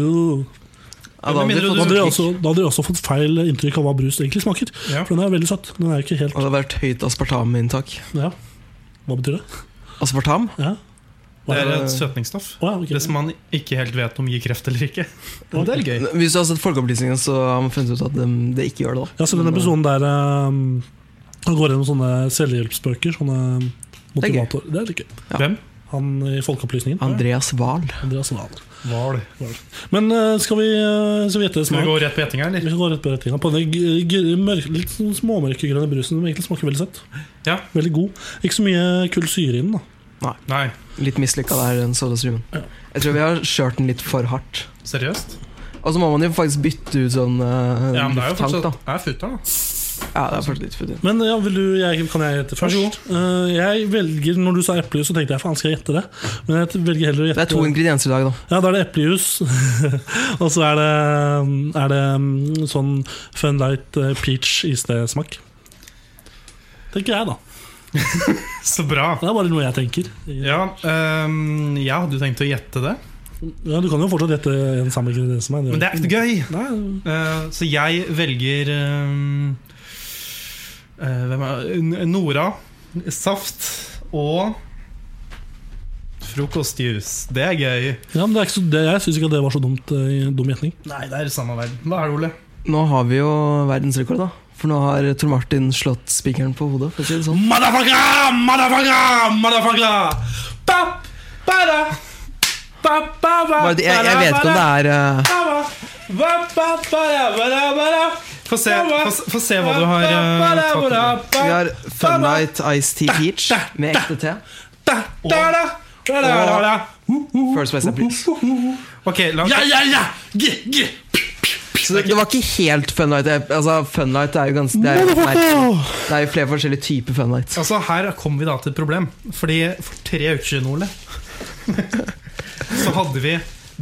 Speaker 6: Ja, da
Speaker 4: Men
Speaker 6: hadde vi
Speaker 4: mindre
Speaker 5: da
Speaker 6: fått
Speaker 5: hadde de
Speaker 6: klikk.
Speaker 5: også, da hadde de også fått feil inntrykk av hva brus egentlig smaker.
Speaker 4: Ja.
Speaker 5: For den er veldig søt. Den er jo ikke helt
Speaker 6: Og det hadde vært høyt aspartaminntak.
Speaker 5: Ja, hva betyr det?
Speaker 6: Aspartam?
Speaker 5: Ja.
Speaker 4: Det er
Speaker 5: Hva-
Speaker 4: et søtningsstoff.
Speaker 5: Å, ja, ok.
Speaker 4: Det som man ikke helt vet om gir kreft eller ikke. Og det er gøy.
Speaker 6: Hvis du har sett Folkeopplysningen, så har man funnet ut at dem- det ikke gjør det. da
Speaker 5: Ja, så den
Speaker 4: Mm.
Speaker 5: episoden der um, Han går gjennom sånne selvhjelpsbøker. Sånne um,
Speaker 6: Det er gøy.
Speaker 5: motivator. Det er litt gøy.
Speaker 6: Ja.
Speaker 4: Hvem?
Speaker 5: Han i Folkeopplysningen.
Speaker 6: Andreas Wahl.
Speaker 5: Andreas Wahl.
Speaker 4: Hval.
Speaker 5: Men uh, skal vi uh, Skal vi gjette
Speaker 4: Skal vi
Speaker 5: smak?
Speaker 4: gå rett på gjetinga,
Speaker 5: Vi
Speaker 4: eller?
Speaker 5: skal gå rett på retninga. På den g- g- mørk- litt sånn småmørkegrønne brusen som egentlig smaker veldig søtt.
Speaker 4: Ja.
Speaker 5: Veldig god. Ikke så mye kull syre i den, da.
Speaker 4: Nei.
Speaker 6: Litt mislykka der, den sodastrømmen. Jeg tror vi har kjørt den litt for hardt.
Speaker 4: Seriøst?
Speaker 6: Og så må man jo faktisk bytte ut sånn uh,
Speaker 4: Ja, men det er jo
Speaker 6: lufttank, da.
Speaker 4: fortsatt Det er futter, da.
Speaker 6: Ja, det er fortsatt litt for dyrt.
Speaker 5: Men ja, vil du, jeg, kan jeg gjette først? Uh, jeg velger, Når du sa eplejus, så tenkte jeg faen skal jeg gjette det. Men jeg velger heller å
Speaker 6: Det
Speaker 5: gjette
Speaker 6: er to ingredienser i dag, da.
Speaker 5: Ja, da er det eplejus. og så er det, er det mm, sånn Fun Light eh, peach iste-smak. Tenker jeg, da.
Speaker 4: Så bra.
Speaker 5: Det er bare noe jeg tenker.
Speaker 4: Ja, ehm, jeg hadde jo tenkt å gjette det,
Speaker 5: Ja, du kan jo fortsatt gjette en samme ingrediens som meg.
Speaker 4: men det er ikke gøy.
Speaker 5: Nei,
Speaker 4: Eh, så jeg velger ehm, eh, Hvem er N- Nora, saft og frokostjuice. Det er gøy.
Speaker 5: ja, men det er ikke så, det, jeg syns ikke at det var så dumt eh, dum gjetning.
Speaker 4: Nei, det er samme verden. Hva er det, Ole?
Speaker 6: Nå har vi jo verdensrekord, da. For nå har Tor Martin slått spikeren på hodet. For å si det sånn
Speaker 4: Motherfucker! Motherfucker! Motherfucker! Ba, ba, da. Ba, ba, ba,
Speaker 6: Bare, det- jeg, jeg vet ikke om det er eh,
Speaker 4: Få se, få, se- få se hva du har eh, tatt.
Speaker 6: Vi har Fun Night Ice Tea Peach med ekte te. First Best Please.
Speaker 4: Ok, la oss
Speaker 5: ja, ja!
Speaker 6: Så det, det var ikke helt Fun Night. Jeg- Altså, Fun Night er jo ganske Det er jo, det er jo flere forskjellige typer Fun Night.
Speaker 4: Altså, Her kom vi da til et problem. Fordi For tre uker siden, Ole, så hadde vi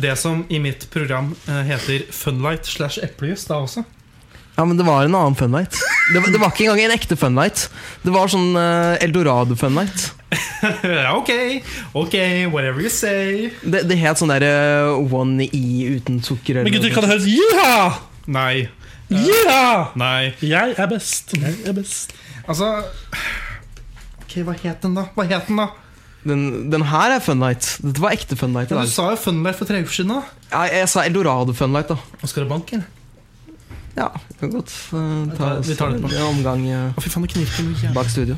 Speaker 4: det som i mitt program eh, heter Funlight slash eplejus da også.
Speaker 6: Ja, men det var en annen Fun Night. Det, var- det var ikke engang en ekte Fun Night. Det var sånn eh, Eldorado Fun Night.
Speaker 4: ja, ok, ok, whatever you say.
Speaker 6: Det, det het sånn derre One E uten sukker
Speaker 5: Men gutter,
Speaker 6: eller
Speaker 5: kan det høres ja!
Speaker 4: Nei.
Speaker 5: Ja!
Speaker 4: Nei.
Speaker 5: Jeg er best. Jeg er best.
Speaker 4: Altså Ok, hva het den, da? Hva het den da?
Speaker 6: den, den her er Fun Night. Dette var ekte Fun Night. i
Speaker 4: Ja,
Speaker 6: dag.
Speaker 4: du sa jo Funlight for tre uker siden. da
Speaker 6: Ja, jeg sa Eldorado Fun Night, da.
Speaker 4: Nå skal du banke, eller?
Speaker 6: Ja, vi kan godt eh, ta
Speaker 4: tar-
Speaker 6: oss
Speaker 4: vi tar det etterpå.
Speaker 6: en omgang eh,
Speaker 4: Å, fy faen, det knirker mye.
Speaker 6: bak studio.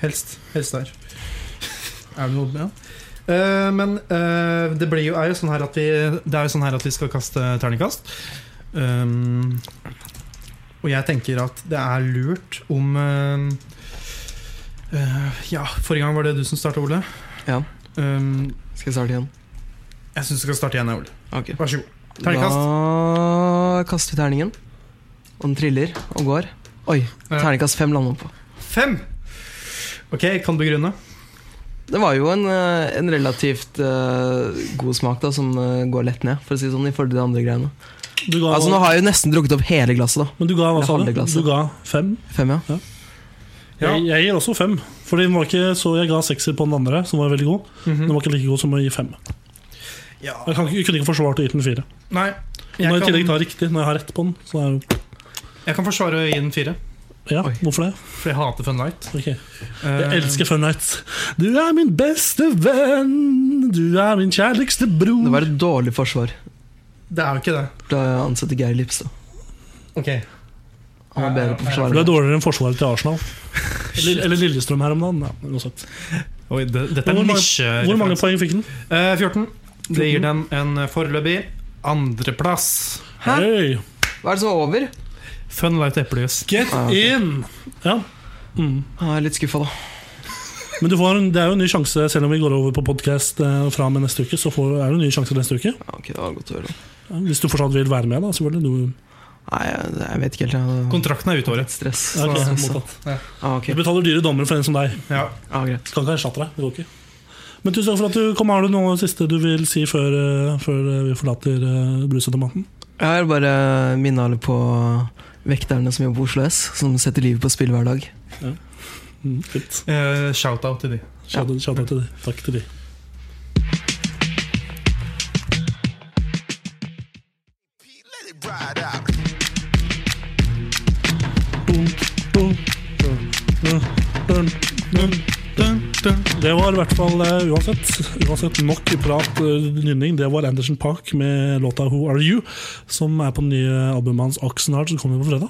Speaker 4: Helst, helst der. Er det noe med ja. Eh, men eh, det blir jo, er jo sånn her at vi Det er jo sånn her at vi skal kaste terningkast. Um, og jeg tenker at det er lurt om eh, eh, Ja, forrige gang var det du som starta, Ole.
Speaker 6: Ja.
Speaker 4: Um,
Speaker 6: Skal jeg starte igjen?
Speaker 4: jeg syns du skal starte igjen, jeg, Ole.
Speaker 6: Ok.
Speaker 4: Vær så god. Terningkast.
Speaker 6: Da kaster vi terningen. Og den triller og går. Oi,
Speaker 4: Ja.
Speaker 6: terningkast fem lander den på.
Speaker 4: Fem! Ok, kan du begrunne?
Speaker 6: Det var jo en, eh, en relativt eh, god smak da, som eh, går lett ned, for å si det sånn, i forhold til de andre greiene.
Speaker 5: Du ga,
Speaker 6: Altså, nå har jeg jo nesten drukket opp hele glasset, da.
Speaker 5: men du ga hva
Speaker 6: Det
Speaker 5: sa du?
Speaker 6: halve
Speaker 5: Du
Speaker 6: glasset.
Speaker 5: ga fem?
Speaker 6: Fem, ja.
Speaker 4: Ja.
Speaker 5: Jeg, jeg gir også fem. For den var ikke så jeg ga sekser på den andre, som var veldig god.
Speaker 4: Mm.
Speaker 5: Den var ikke like god som å gi fem.
Speaker 4: Mhm. ja.
Speaker 5: Jeg, kan, ikke- jeg kunne ikke forsvart å gi den fire.
Speaker 4: Nei.
Speaker 5: Når jeg i tillegg
Speaker 4: Jeg kan,
Speaker 5: tar riktig, når jeg har rett på den, så er jo
Speaker 4: jeg kan forsvare å gi den fire,
Speaker 5: Ja,
Speaker 6: Oi.
Speaker 5: hvorfor det?
Speaker 4: for jeg hater Fun Light.
Speaker 5: Ok.
Speaker 4: Eh,
Speaker 5: Jeg elsker Fun Nights. Du er min beste venn, du er min kjærligste bror.
Speaker 6: Det var et dårlig forsvar.
Speaker 4: Det er jo ikke det.
Speaker 6: Da ansatte Geir Lipstad.
Speaker 4: Ok
Speaker 6: Han var bedre på å
Speaker 5: Du er
Speaker 6: forsvare.
Speaker 5: dårligere enn forsvaret til Arsenal. Eller, eller Lillestrøm her om dagen. Ja, uansett.
Speaker 4: Oi, det, dette er
Speaker 5: Hvor mange,
Speaker 4: nisje
Speaker 5: hvor mange poeng fikk den?
Speaker 4: Eh, 14 Det gir den en eh, foreløpig andreplass
Speaker 6: Hæ?
Speaker 5: Hey,
Speaker 6: Hva er det som er over?
Speaker 4: Fun light eplejus
Speaker 5: get
Speaker 6: Ah, ok.
Speaker 5: in! Ja.
Speaker 6: Jeg er litt skuffa, da.
Speaker 5: Men du får en, det er jo en ny sjanse, selv om vi går over på podkast fra og med neste uke. Så får, er det en ny sjanse neste uke
Speaker 6: Ja, Ok, det var godt å høre.
Speaker 5: Ja, Hvis du fortsatt vil være med, da. selvfølgelig du,
Speaker 6: Nei, jeg, jeg vet ikke helt. Jeg hadde
Speaker 4: Kontrakten er ut året
Speaker 6: stress.
Speaker 5: ja, ok,
Speaker 6: stress.
Speaker 5: mottatt.
Speaker 6: Ah,
Speaker 5: du
Speaker 6: ok.
Speaker 5: betaler dyre dommer for en som deg.
Speaker 4: ja.
Speaker 6: Ah, greit.
Speaker 5: Skal ikke erstatte deg. Det går ikke. Men tusen takk for at du kom. Har du noe siste du vil si før, eh, før eh, vi forlater eh, brusautomaten?
Speaker 6: Jeg vil bare minne alle på vekterne som jobber på Oslo S, som setter livet på spill hver dag.
Speaker 5: Mm, fint.
Speaker 4: Eh, Shoutout til de
Speaker 5: Shout out shout out til de. Takk til de. Det var i hvert fall eh, uansett, uansett nok prat eh, nynning. Det var Anderson Park med låta 'Who Are You', som er på det nye albumet hans 'Oxenheart', som kommer på fredag.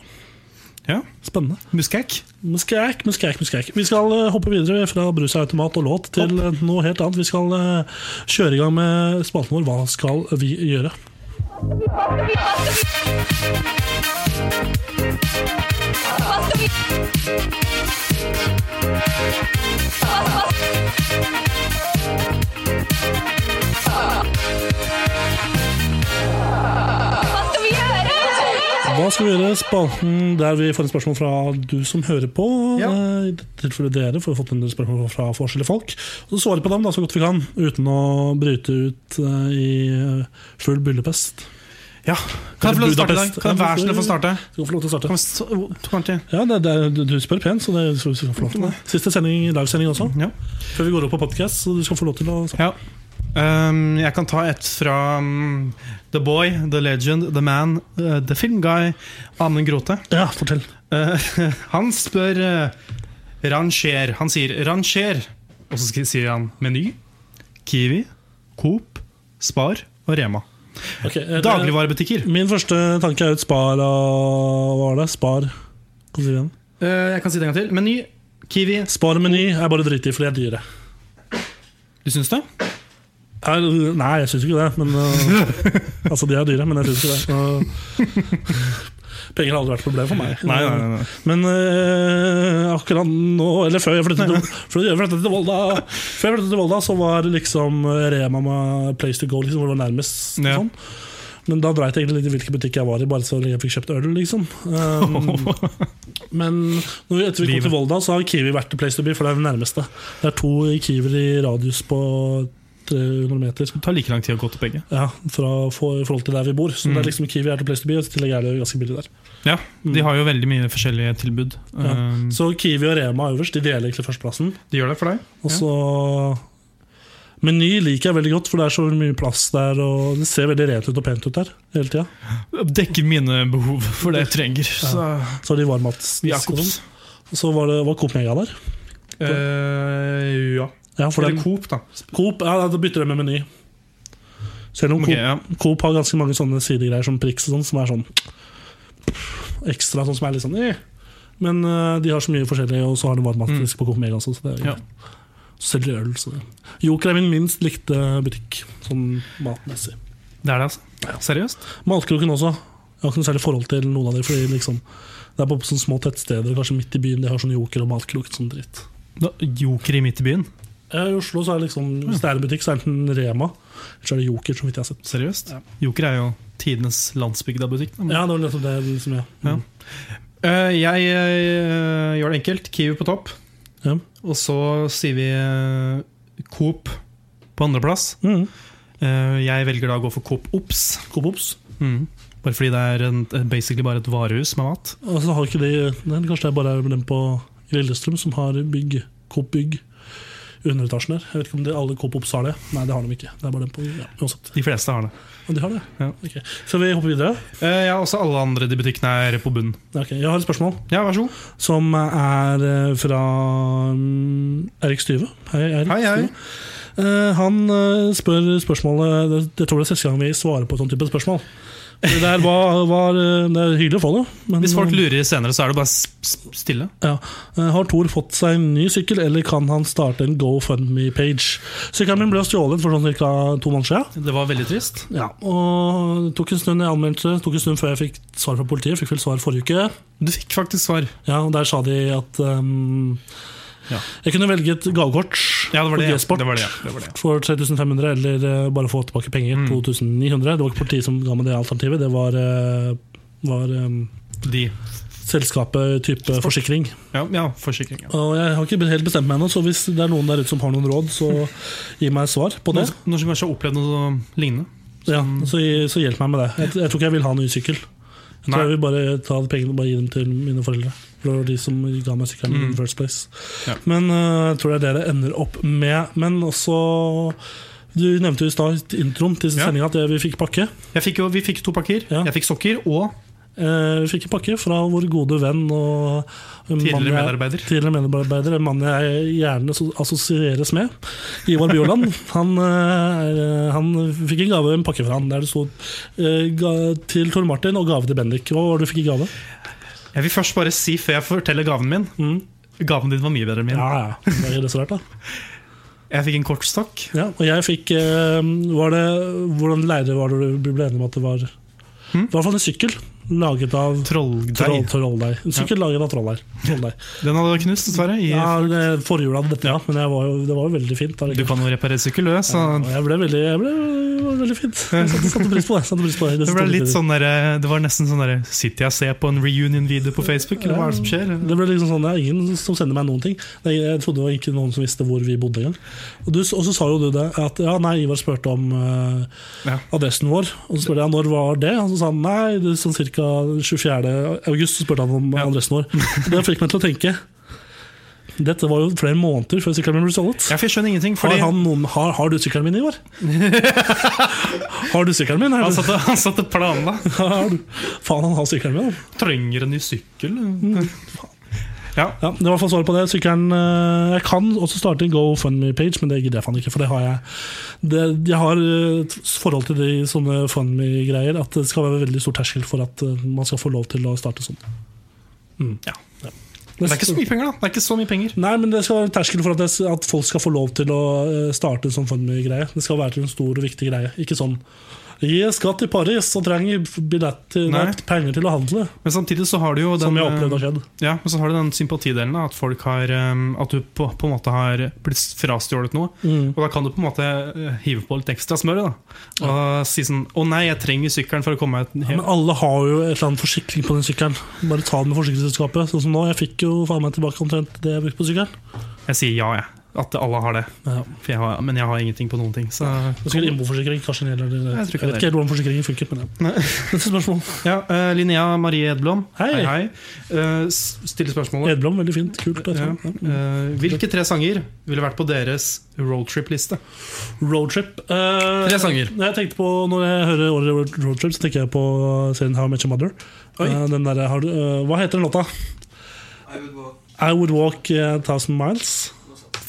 Speaker 4: Ja.
Speaker 5: Spennende.
Speaker 4: Muskek
Speaker 5: Muskæk, muskæk, muskæk. Vi skal eh, hoppe videre fra brusautomat og låt til eh, noe helt annet. Vi skal eh, kjøre i gang med spalten vår. Hva skal vi gjøre?
Speaker 7: Hva skal vi Hva, hva? Hva skal vi gjøre?
Speaker 5: Hva skal vi gjøre? Spalten der vi får et spørsmål fra du som hører på.
Speaker 4: Ja.
Speaker 5: eh, I dette tilfellet dere, for vi har fått en del spørsmål fra forskjellige folk. Og så svarer vi på dem da, så godt vi kan, uten å bryte ut eh, i eh, full byllepest.
Speaker 4: Ja Kan jeg få lov til å starte i dag?
Speaker 5: Budapest.
Speaker 4: Kan jeg vær snill få starte?
Speaker 5: Du kan få lov til å starte.
Speaker 4: Kan vi så- oh, Kan vi
Speaker 5: Ja, det, det, du- du spør pent, så det så du skal få lov til det. Siste sending, livesending også,
Speaker 4: Ja.
Speaker 5: før vi går opp på podkast. Så du skal få lov til å
Speaker 4: Ja Ehm, jeg kan ta et fra mm, The Boy, The Legend, The Man, eh, The Film Guy Amund Grote
Speaker 5: Ja, fortell.
Speaker 4: Eh, Han spør eh, Ranger Han sier ranger Og så sk- sier han meny Kiwi, Coop, Spar og Rema
Speaker 5: Ok, eh, det-
Speaker 4: Dagligvarebutikker
Speaker 5: Min første tanke er jo et Spar og Hva var det? Spar Kom til igjen.
Speaker 4: Eh, Jeg kan si det en gang til Meny, Kiwi
Speaker 5: Spar og Meny er bare dritig fordi de er dyre.
Speaker 4: Du synes det?
Speaker 5: Er, nei, jeg syns ikke det. Men, øh, altså, de er dyre, men jeg syns ikke det. Øh, penger har aldri vært et problem for meg. Men øh, akkurat nå, eller før jeg flyttet, til- før jeg flyttet til Volda, Før jeg flyttet til Volda, så var liksom øh, Rema med Place to go, liksom, hvor det var nærmest.
Speaker 4: Ja.
Speaker 5: Sånn. Men da dreit jeg egentlig litt i hvilken butikk jeg var i, bare så lenge jeg fikk kjøpt øl, liksom. Um, men når vi, etter vi kom til Volda, så har Kiwi vært the place to be, for det er den nærmeste. Det er to Kiwier i radius på 300 meter.
Speaker 4: Det tar like lang tid å gå til begge
Speaker 5: Ja, fra, for, i forhold til der vi bor. Så det er liksom Kiwi er the place to be, og i tillegg er det ganske billig der.
Speaker 4: Ja, de har jo veldig mye forskjellige tilbud
Speaker 5: Ja.
Speaker 4: Eh,
Speaker 5: Så Kiwi og Rema øverst, de deler egentlig førsteplassen.
Speaker 4: De gjør det for deg?
Speaker 5: Og så Meny liker jeg veldig godt, for det er så mye plass der. Og Det ser veldig rent ut og pent ut der hele tida.
Speaker 4: Dekker mine behov for det jeg trenger Så
Speaker 5: Så har de varmmatsdisk og
Speaker 4: Jakobs
Speaker 5: sånn. Og så var det var Coop Mega der.
Speaker 4: Eh, Ja
Speaker 5: Ja, for
Speaker 4: Eller
Speaker 5: det,
Speaker 4: Coop da
Speaker 5: Coop, ja, da bytter jeg med meny. Selv om
Speaker 4: Ok, ja
Speaker 5: Coop, Coop har ganske mange sånne sidegreier som Prix og sånn, som er sånn ekstra, sånn som er litt sånn eh. Men eh, de har så mye forskjellig, og så har de varmtvannsdisk på Coop Mega også. Så det er
Speaker 4: Mm. Ja.
Speaker 5: Selger øl, så det Joker er min minst likte butikk, sånn matmessig.
Speaker 4: Det er det, altså. Seriøst?
Speaker 5: Maltkroken også. Jeg har ikke noe særlig forhold til noen av dem. Fordi liksom, det er på sånne små tettsteder kanskje midt i byen de har sånn Joker og Maltkrok. Sånn dritt.
Speaker 4: Da, joker i midt i byen?
Speaker 5: Ja, I Oslo så er det liksom, hvis det er en butikk, så er det enten Rema eller så er det Joker. så vidt jeg har sett.
Speaker 4: Seriøst? Joker er jo tidenes landsbygdabutikk. da.
Speaker 5: Ja, det var nettopp det liksom, ja.
Speaker 4: Mm. Ja. Eh, jeg eh, gjør det enkelt. Kiwi på topp.
Speaker 5: Ja.
Speaker 4: Og så sier vi eh, Coop på andreplass.
Speaker 5: Mm.
Speaker 4: Eh, jeg velger da å gå for Coop Ops.
Speaker 5: Coop Ops.
Speaker 4: Mm. Bare fordi det er en, eh, basically bare et varehus med mat.
Speaker 5: Og så har ikke de nei, Kanskje det er bare den på Lillestrøm som har bygg, Coop Bygg i underetasjen der. Jeg vet ikke om de, alle Coop Ops har det. Nei, det har de ikke. Det er bare den på, ja, uansett.
Speaker 4: De fleste har det.
Speaker 5: Og de har det.
Speaker 4: Ja.
Speaker 5: Ok. Skal vi hoppe videre?
Speaker 4: Eh, ja, også alle andre de butikkene er på bunnen.
Speaker 5: Ok, Jeg har et spørsmål.
Speaker 4: Ja, vær så god.
Speaker 5: som er eh, fra mm, Erik Styve. Hei, Erik.
Speaker 4: Hei, hei.
Speaker 5: Styve. Eh, Han eh, spør spørsmålet det- Jeg tror det er siste gang vi svarer på et sånt type spørsmål. Det, der var, var, eh, det er hyggelig å få det. men-
Speaker 4: Hvis folk lurer senere, så er det bare s- s- stille.
Speaker 5: ja. Eh, Har Thor fått seg en ny sykkel, eller kan han starte en GoFundMe-page? Sykkelen min ble stjålet for sånn cirka to måneder siden.
Speaker 4: Det var veldig trist.
Speaker 5: Ja, og det tok en stund jeg anmeldte det, tok en stund før jeg fikk svar fra politiet. Fikk vel svar forrige uke.
Speaker 4: Du fikk faktisk svar.
Speaker 5: Ja, og der sa de at ehm,
Speaker 4: Ja.
Speaker 5: jeg kunne velge et gavekort
Speaker 4: Ja, det var
Speaker 5: på
Speaker 4: det, ja.
Speaker 5: G-Sport
Speaker 4: Det var det, ja. Det var det, ja. Mm.
Speaker 5: for 3500, eller eh, bare få tilbake penger. 2900. Det var ikke politiet som ga meg det alternativet, det var, eh, var ehm,
Speaker 4: De.
Speaker 5: selskapet type forsikring.
Speaker 4: Ja, ja forsikring. Ja.
Speaker 5: Og jeg har ikke helt bestemt meg ennå, så hvis det er noen der ute som har noen råd, så gi meg svar på det.
Speaker 4: Noen, noen som kanskje har opplevd noe sånn lignende? Sånn-
Speaker 5: Ja,
Speaker 4: Mm.
Speaker 5: så, gi- så hjelp meg med det. Jeg, jeg tror ikke jeg vil ha en ny sykkel. Jeg
Speaker 4: Nei.
Speaker 5: tror jeg vil bare ta de pengene og bare gi dem til mine foreldre. For det var de som ga meg sykkelen in the first place.
Speaker 4: Mm. Ja.
Speaker 5: Men øh, jeg tror det er det det ender opp med. Men også Du nevnte jo i stad i introen til
Speaker 4: Ja.
Speaker 5: sendinga at vi fikk pakke.
Speaker 4: Jeg fikk jo, vi fikk to pakker.
Speaker 5: Ja.
Speaker 4: Jeg fikk sokker og
Speaker 5: Eh, vi fikk en pakke fra vår gode venn og en
Speaker 4: Tidligere
Speaker 5: mann jeg-
Speaker 4: medarbeider.
Speaker 5: Tidligere medarbeider, En mann jeg gjerne so- assosieres med. Ivar Bjorland. Han, eh, han fikk en gave, en pakke fra han, der det sto eh, ga, til Tor Martin og gave til Bendik. Hva var det du fikk i gave?
Speaker 4: Jeg vil først bare si, før jeg forteller gaven min Gaven din var mye bedre enn min.
Speaker 5: Mm. Ja, ja. Det er det så rart, da.
Speaker 4: Jeg fikk en kortstokk.
Speaker 5: Ja, og jeg fikk eh, var det, Hvordan leire var det du ble enig med at det var? I hvert fall en sykkel laget av
Speaker 4: Trolldeig.
Speaker 5: troll- trolldeig. En sykkel laget av trolldeig. trolldeig.
Speaker 4: Den hadde knust, dessverre. I,
Speaker 5: Ja, det- forhjulet hadde dette, ja. Men jeg var jo, det var jo veldig fint. da,
Speaker 4: Du
Speaker 5: ikke?
Speaker 4: kan jo reparere sykkel, du. Så
Speaker 5: Og jeg ble veldig, jeg ble, det var veldig fint. Jeg satte, satte pris på det. Satte pris på det, i
Speaker 4: det
Speaker 5: disse
Speaker 4: ble
Speaker 5: tunge
Speaker 4: litt
Speaker 5: tider.
Speaker 4: sånn derre- Det var nesten sånn derre Sitter jeg og ser på en reunion-video på Facebook, eller hva er det som skjer?
Speaker 5: det ble liksom sånn, det er ingen som sender meg noen ting. Det er- Jeg trodde det var ikke noen som visste hvor vi bodde engang. Og, du- og så sa jo du det, at ja, nei, Ivar spurte om eh,
Speaker 4: Ja.
Speaker 5: adressen vår. Og så spurte jeg når var det og så sa han nei, det er sånn ca. 24. august. Så spurte han om adressen vår. Det fikk meg til å tenke. Dette var jo flere måneder før sykkelen min ble stjålet.
Speaker 4: Ja, for Jeg skjønner ingenting.
Speaker 5: Har,
Speaker 4: Fordi han,
Speaker 5: han noen, har, har du sykkelen min, Ivar? har du sykkelen min? Er
Speaker 4: satt, og- han satt og planla.
Speaker 5: du- har du? Faen, han har sykkelen min. han.
Speaker 4: Trenger en ny sykkel?
Speaker 5: Mm.
Speaker 4: Ja.
Speaker 5: Ja, det var i hvert fall svaret på det. Sykkelen, eh, jeg kan også starte en GoFundMe-page, men det gidder jeg faen ikke. For det har jeg det, Jeg har eh, et forhold til de sånne FundMe-greier at det skal være veldig stor terskel for at eh, man skal få lov til å starte sånn.
Speaker 4: Mm, ja. Det er ikke så mye penger, da. Det er ikke så mye penger.
Speaker 5: Nei, men det skal være en terskel for at, det, at folk skal få lov til å eh, starte en sånn FundMe-greie. Det skal være til en stor og viktig greie. Ikke sånn Jeg skal til Paris og trenger billett til,
Speaker 4: Nei.
Speaker 5: nei, penger til å handle.
Speaker 4: Men samtidig så har du jo den
Speaker 5: som jeg
Speaker 4: eh,
Speaker 5: opplevde har skjedd.
Speaker 4: Ja, men så har du den sympatidelen da, at, folk har, um, at du på, på en måte har blitt frastjålet noe.
Speaker 5: Mm.
Speaker 4: Og da kan du på en måte eh, hive på litt ekstra smør. Da, og si sånn 'Å nei, jeg trenger sykkelen for å komme meg
Speaker 5: Men
Speaker 4: hjem'.
Speaker 5: alle har jo et eller annet forsikring på den sykkelen. Bare ta den med forsikringsselskapet. Sånn som nå. Jeg fikk jo faen meg tilbake omtrent det jeg brukte på sykkelen.
Speaker 4: Jeg sier ja, jeg. At alle har det.
Speaker 5: Ja.
Speaker 4: For jeg har, men jeg har ingenting på noen ting. Så
Speaker 5: Det skulle innboforsikring, kanskje en hel eller Jeg,
Speaker 4: Jeg tror ikke
Speaker 5: vet
Speaker 4: det.
Speaker 5: ikke helt hvordan forsikringen funker, men ja. Neste spørsmål.
Speaker 4: ja, eh, Linnea Marie Edblom,
Speaker 5: Hei.
Speaker 4: hei, Eh, s- stiller spørsmålet.
Speaker 5: Edblom, veldig fint. Kult.
Speaker 4: Ja.
Speaker 5: etterpå. Ja.
Speaker 4: Eh, hvilke tre sanger ville vært på deres roadtrip-liste?
Speaker 5: Roadtrip. Uh,
Speaker 4: Tre sanger.
Speaker 5: Jeg tenkte på, når jeg hører ordet roadtrip, så tenker jeg på serien How I Met Your Mother.
Speaker 4: Oi.
Speaker 5: Eh, den derre har du- eh, Hva heter den låta? I Would Walk A Thousand Miles.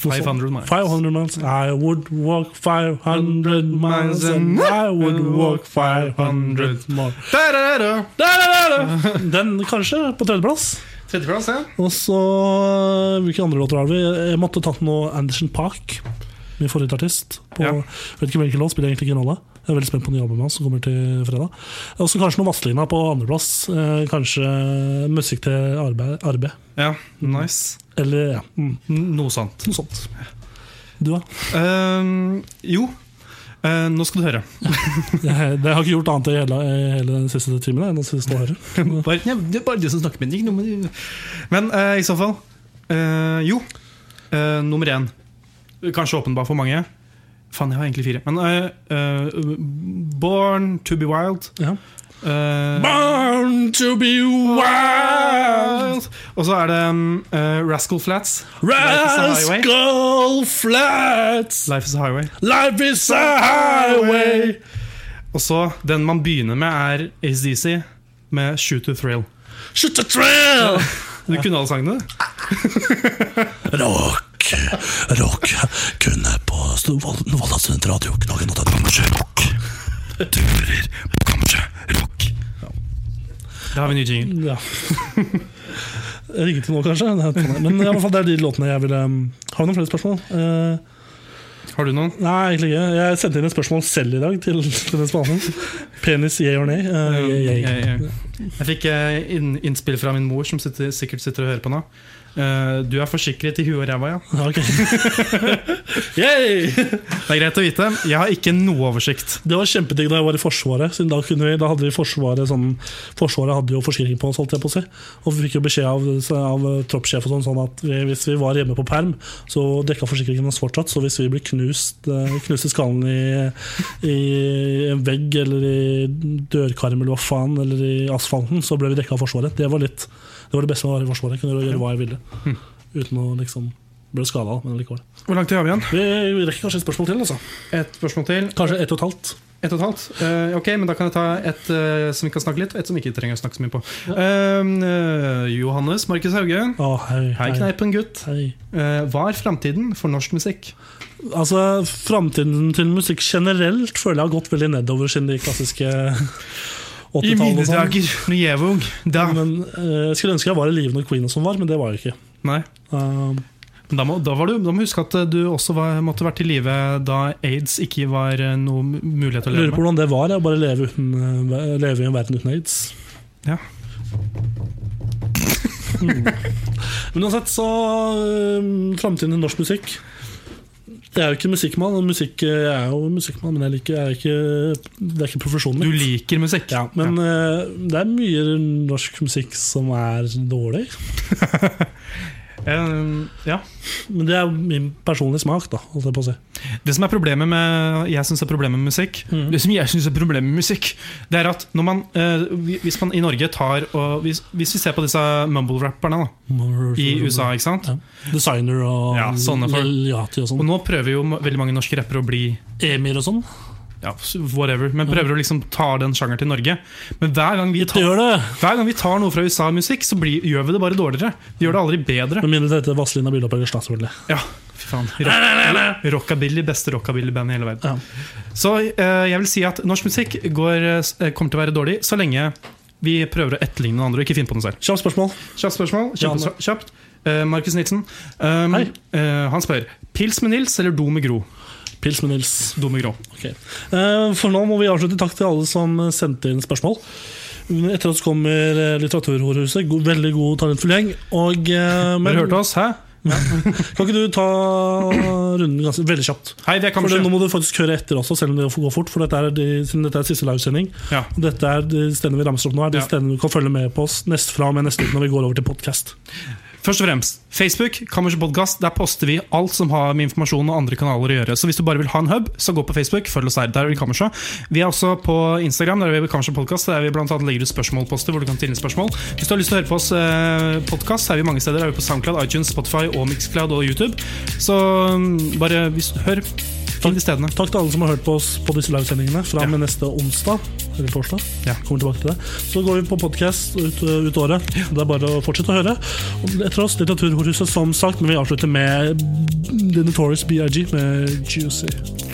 Speaker 5: noe
Speaker 4: 500 miles.
Speaker 5: 500 miles. I would walk 500 miles and I would walk 500 more. Der, der, der, der. Den kanskje på tredjeplass.
Speaker 4: Tredjeplass, ja.
Speaker 5: Og så Hvilke andre låter har vi? Jeg måtte tatt noe Anderson Park. Min forrige artist. På,
Speaker 4: Ja.
Speaker 5: Vet ikke hvilken låt, spiller egentlig ingen rolle. Jeg er veldig spent på nye albumet hans som kommer til fredag. Og så kanskje noe Vazelina på andreplass. Eh, kanskje musikk til arbeid. arbeid.
Speaker 4: ja. Nice.
Speaker 5: Eller ja, mm,
Speaker 4: N- Noe sånt.
Speaker 5: noe sånt. Du, da?
Speaker 4: Ehm, jo, Eh, nå skal du høre.
Speaker 5: Jeg, det har ikke gjort annet i hele, i hele den siste timen. jeg, enn å stå her.
Speaker 4: Bare, ja, det er bare du som snakker med den, ikke noe med du. Men eh, i så fall eh, Jo, eh, nummer én. Kanskje åpenbar for mange. Faen, jeg har egentlig fire. Men eh, eh, Born to be wild.
Speaker 5: Ja.
Speaker 4: eh,
Speaker 5: Born to be wild,
Speaker 4: Og så er det mm, eh, Rascal Flats.
Speaker 5: rascal flats,
Speaker 4: Life is a highway.
Speaker 5: life is a highway.
Speaker 4: Og så den man begynner med, er ACDC med Shoot to Thrill.
Speaker 5: Shoot a trail!
Speaker 4: Du kunne alle sangene? du.
Speaker 5: Rock, rock, kun her på Sto- Val- Volda Studentradio. Knagen og tatt kammerset, rock. Du hører på kammerset, rock.
Speaker 4: Da har vi ny jingle.
Speaker 5: Ja. Jeg ringer til nå, kanskje. Nei, på nei. Men i hvert fall, det er de låtene jeg ville um, Har du noen flere spørsmål? Eh,
Speaker 4: Har du noen?
Speaker 5: nei, egentlig ikke. Jeg sendte inn et spørsmål selv i dag til til den spalten. Penis, yeah or nay? Eh, yeah, yeah.
Speaker 4: Jeg, jeg, jeg fikk eh, inn, innspill fra min mor, som sitter, sikkert sitter og hører på nå. Eh, du er forsikret i huet og ræva, ja.
Speaker 5: Ja, ok.
Speaker 4: Yay! Det er greit å vite. Jeg har ikke noe oversikt.
Speaker 5: Det var kjempedigg da jeg var i Forsvaret. Siden da, kunne vi, da hadde vi Forsvaret sånn, Forsvaret hadde jo forsikring på oss, holdt jeg på å si. Og vi fikk jo beskjed av, av troppssjef og sånn, sånn at vi, hvis vi var hjemme på perm, så dekka forsikringen oss fortsatt. Så hvis vi ble knust, eh, knust i skallen i, i en vegg eller i dørkarm eller hva faen, eller i asfalten, så ble vi dekka av Forsvaret. Det var, litt, det var det beste med å være i Forsvaret. Kunne gjøre hva jeg ville. Uten å liksom ble skada, men likevel.
Speaker 4: Hvor langt har vi igjen?
Speaker 5: Vi rekker kanskje et spørsmål til, altså.
Speaker 4: Et spørsmål til.
Speaker 5: Kanskje ett og et halvt.
Speaker 4: Ett og et halvt? Eh, ok, men da kan jeg ta et eh, som vi kan snakke litt, og et som vi ikke trenger å snakke så mye på. Eh, Johannes Markus Hauge.
Speaker 5: Å, hei,
Speaker 4: Hei, kneipen gutt.
Speaker 5: Hei.
Speaker 4: Eh, hva er framtiden for norsk musikk?
Speaker 5: Altså, Framtiden til musikk generelt føler jeg har gått veldig nedover siden de klassiske 80-tallet. og sånn.
Speaker 4: når jeg var ung. Da.
Speaker 5: Men eh, Jeg skulle ønske jeg var i live når Queen og sånn var, men det var jeg ikke.
Speaker 4: Nei.
Speaker 5: Um,
Speaker 4: Men da må, da, var du, da må du huske at eh, du også var, måtte vært i live da aids ikke var eh, noe m- mulighet til å
Speaker 5: jeg lurer
Speaker 4: leve med.
Speaker 5: på hvordan det var, jeg, å bare leve, uten, eh, leve i en verden uten aids.
Speaker 4: Ja.
Speaker 5: Mm. Men uansett, så um, Framtiden til norsk musikk Jeg er jo ikke musikkmann, og musikk, eh, jeg er jo musikkmann, men jeg liker, jeg er ikke, det er ikke profesjonen
Speaker 4: Du
Speaker 5: min.
Speaker 4: liker musikk.
Speaker 5: Ja, men eh, det er mye norsk musikk som er dårlig.
Speaker 4: Eh, ja.
Speaker 5: Men det er min personlige smak, da. Holdt jeg på å si.
Speaker 4: Det som er problemet med Jeg synes er problemet med musikk
Speaker 5: Mm.
Speaker 4: Det som jeg synes er problemet med musikk Det er at når man eh, hvi- Hvis man i Norge tar og, hvis, hvis vi ser på disse mumble-rapperne da, I USA, ikke sant?
Speaker 5: Ja. Designer og
Speaker 4: Ja, sånne folk.
Speaker 5: Lil Yachty og
Speaker 4: Og
Speaker 5: sånn.
Speaker 4: nå prøver jo ma- veldig mange norske rappere å bli
Speaker 5: Emir og sånn.
Speaker 4: ja, whatever, men prøver å liksom ta den sjangeren til Norge. Men hver gang vi
Speaker 5: Det
Speaker 4: tar,
Speaker 5: Mm. gjør det!
Speaker 4: hver gang vi tar noe fra USA-musikk, så blir, gjør vi det bare dårligere. Vi gjør det aldri bedre.
Speaker 5: Med mindre det heter Vazelina Byllebergers, da, selvfølgelig.
Speaker 4: Ja, fy faen. Rock, rockabilly, beste rockabilly-band i hele verden.
Speaker 5: Ja.
Speaker 4: Så eh, jeg vil si at norsk musikk går, eh, s- eh, kommer til å være dårlig så lenge vi prøver å etterligne noen andre og ikke finne på noe selv.
Speaker 5: Kjapt spørsmål.
Speaker 4: Kjapt spørsmål. Kjapt.
Speaker 5: Ja,
Speaker 4: kjapt. Eh, Markus Nilsen. Um,
Speaker 5: Hei.
Speaker 4: eh, han spør Pils med Nils eller Do med Gro?
Speaker 5: Pils med Nils.
Speaker 4: Do med Gro.
Speaker 5: Ok. Eh, For nå må vi avslutte. Takk til alle som sendte inn spørsmål. Etter oss kommer eh, Litteraturhorehuset. God, veldig god, talentfull gjeng. Og, eh, men-
Speaker 4: Dere hørte oss, hæ?
Speaker 5: Kan ikke du ta runden ganske veldig kjapt?
Speaker 4: Hei, vi er
Speaker 5: For det, nå
Speaker 4: kammerset.
Speaker 5: må du faktisk høre etter også, selv om det får gå fort. For dette er, de, siden dette er siste livesending.
Speaker 4: Ja.
Speaker 5: Og Dette er de stedene vi ramser opp nå, er de
Speaker 4: Ja.
Speaker 5: stedene du kan følge med på oss nest fra og med neste uke når vi går over til podkast.
Speaker 4: Først og fremst, Facebook, Kammerset Podcast, der poster vi alt som har med informasjon og andre kanaler å gjøre. Så hvis du bare vil ha en hub, så gå på Facebook, følg oss der. Der er vi Kammerset. Vi er også på Instagram, der er vi Kammerset Podcast, der vi blant annet legger ut spørsmålposter hvor du kan stille spørsmål. Hvis du har lyst til å høre på oss eh, podcast, så er vi mange steder. Der er vi på SoundCloud, iTunes, Spotify og Mixcloud og YouTube. Så mm, bare hvis, hør. Finn stedene.
Speaker 5: Takk til alle som har hørt på oss på disse livesendingene. Fra og med neste onsdag eller torsdag.
Speaker 4: Ja.
Speaker 5: Kommer tilbake til det. Så går vi på podkast ut, ut året. Det er bare å fortsette å høre. Og Etter oss Litteraturhuset, som sagt, men vi avslutter med The Notorious BIG med Juicy.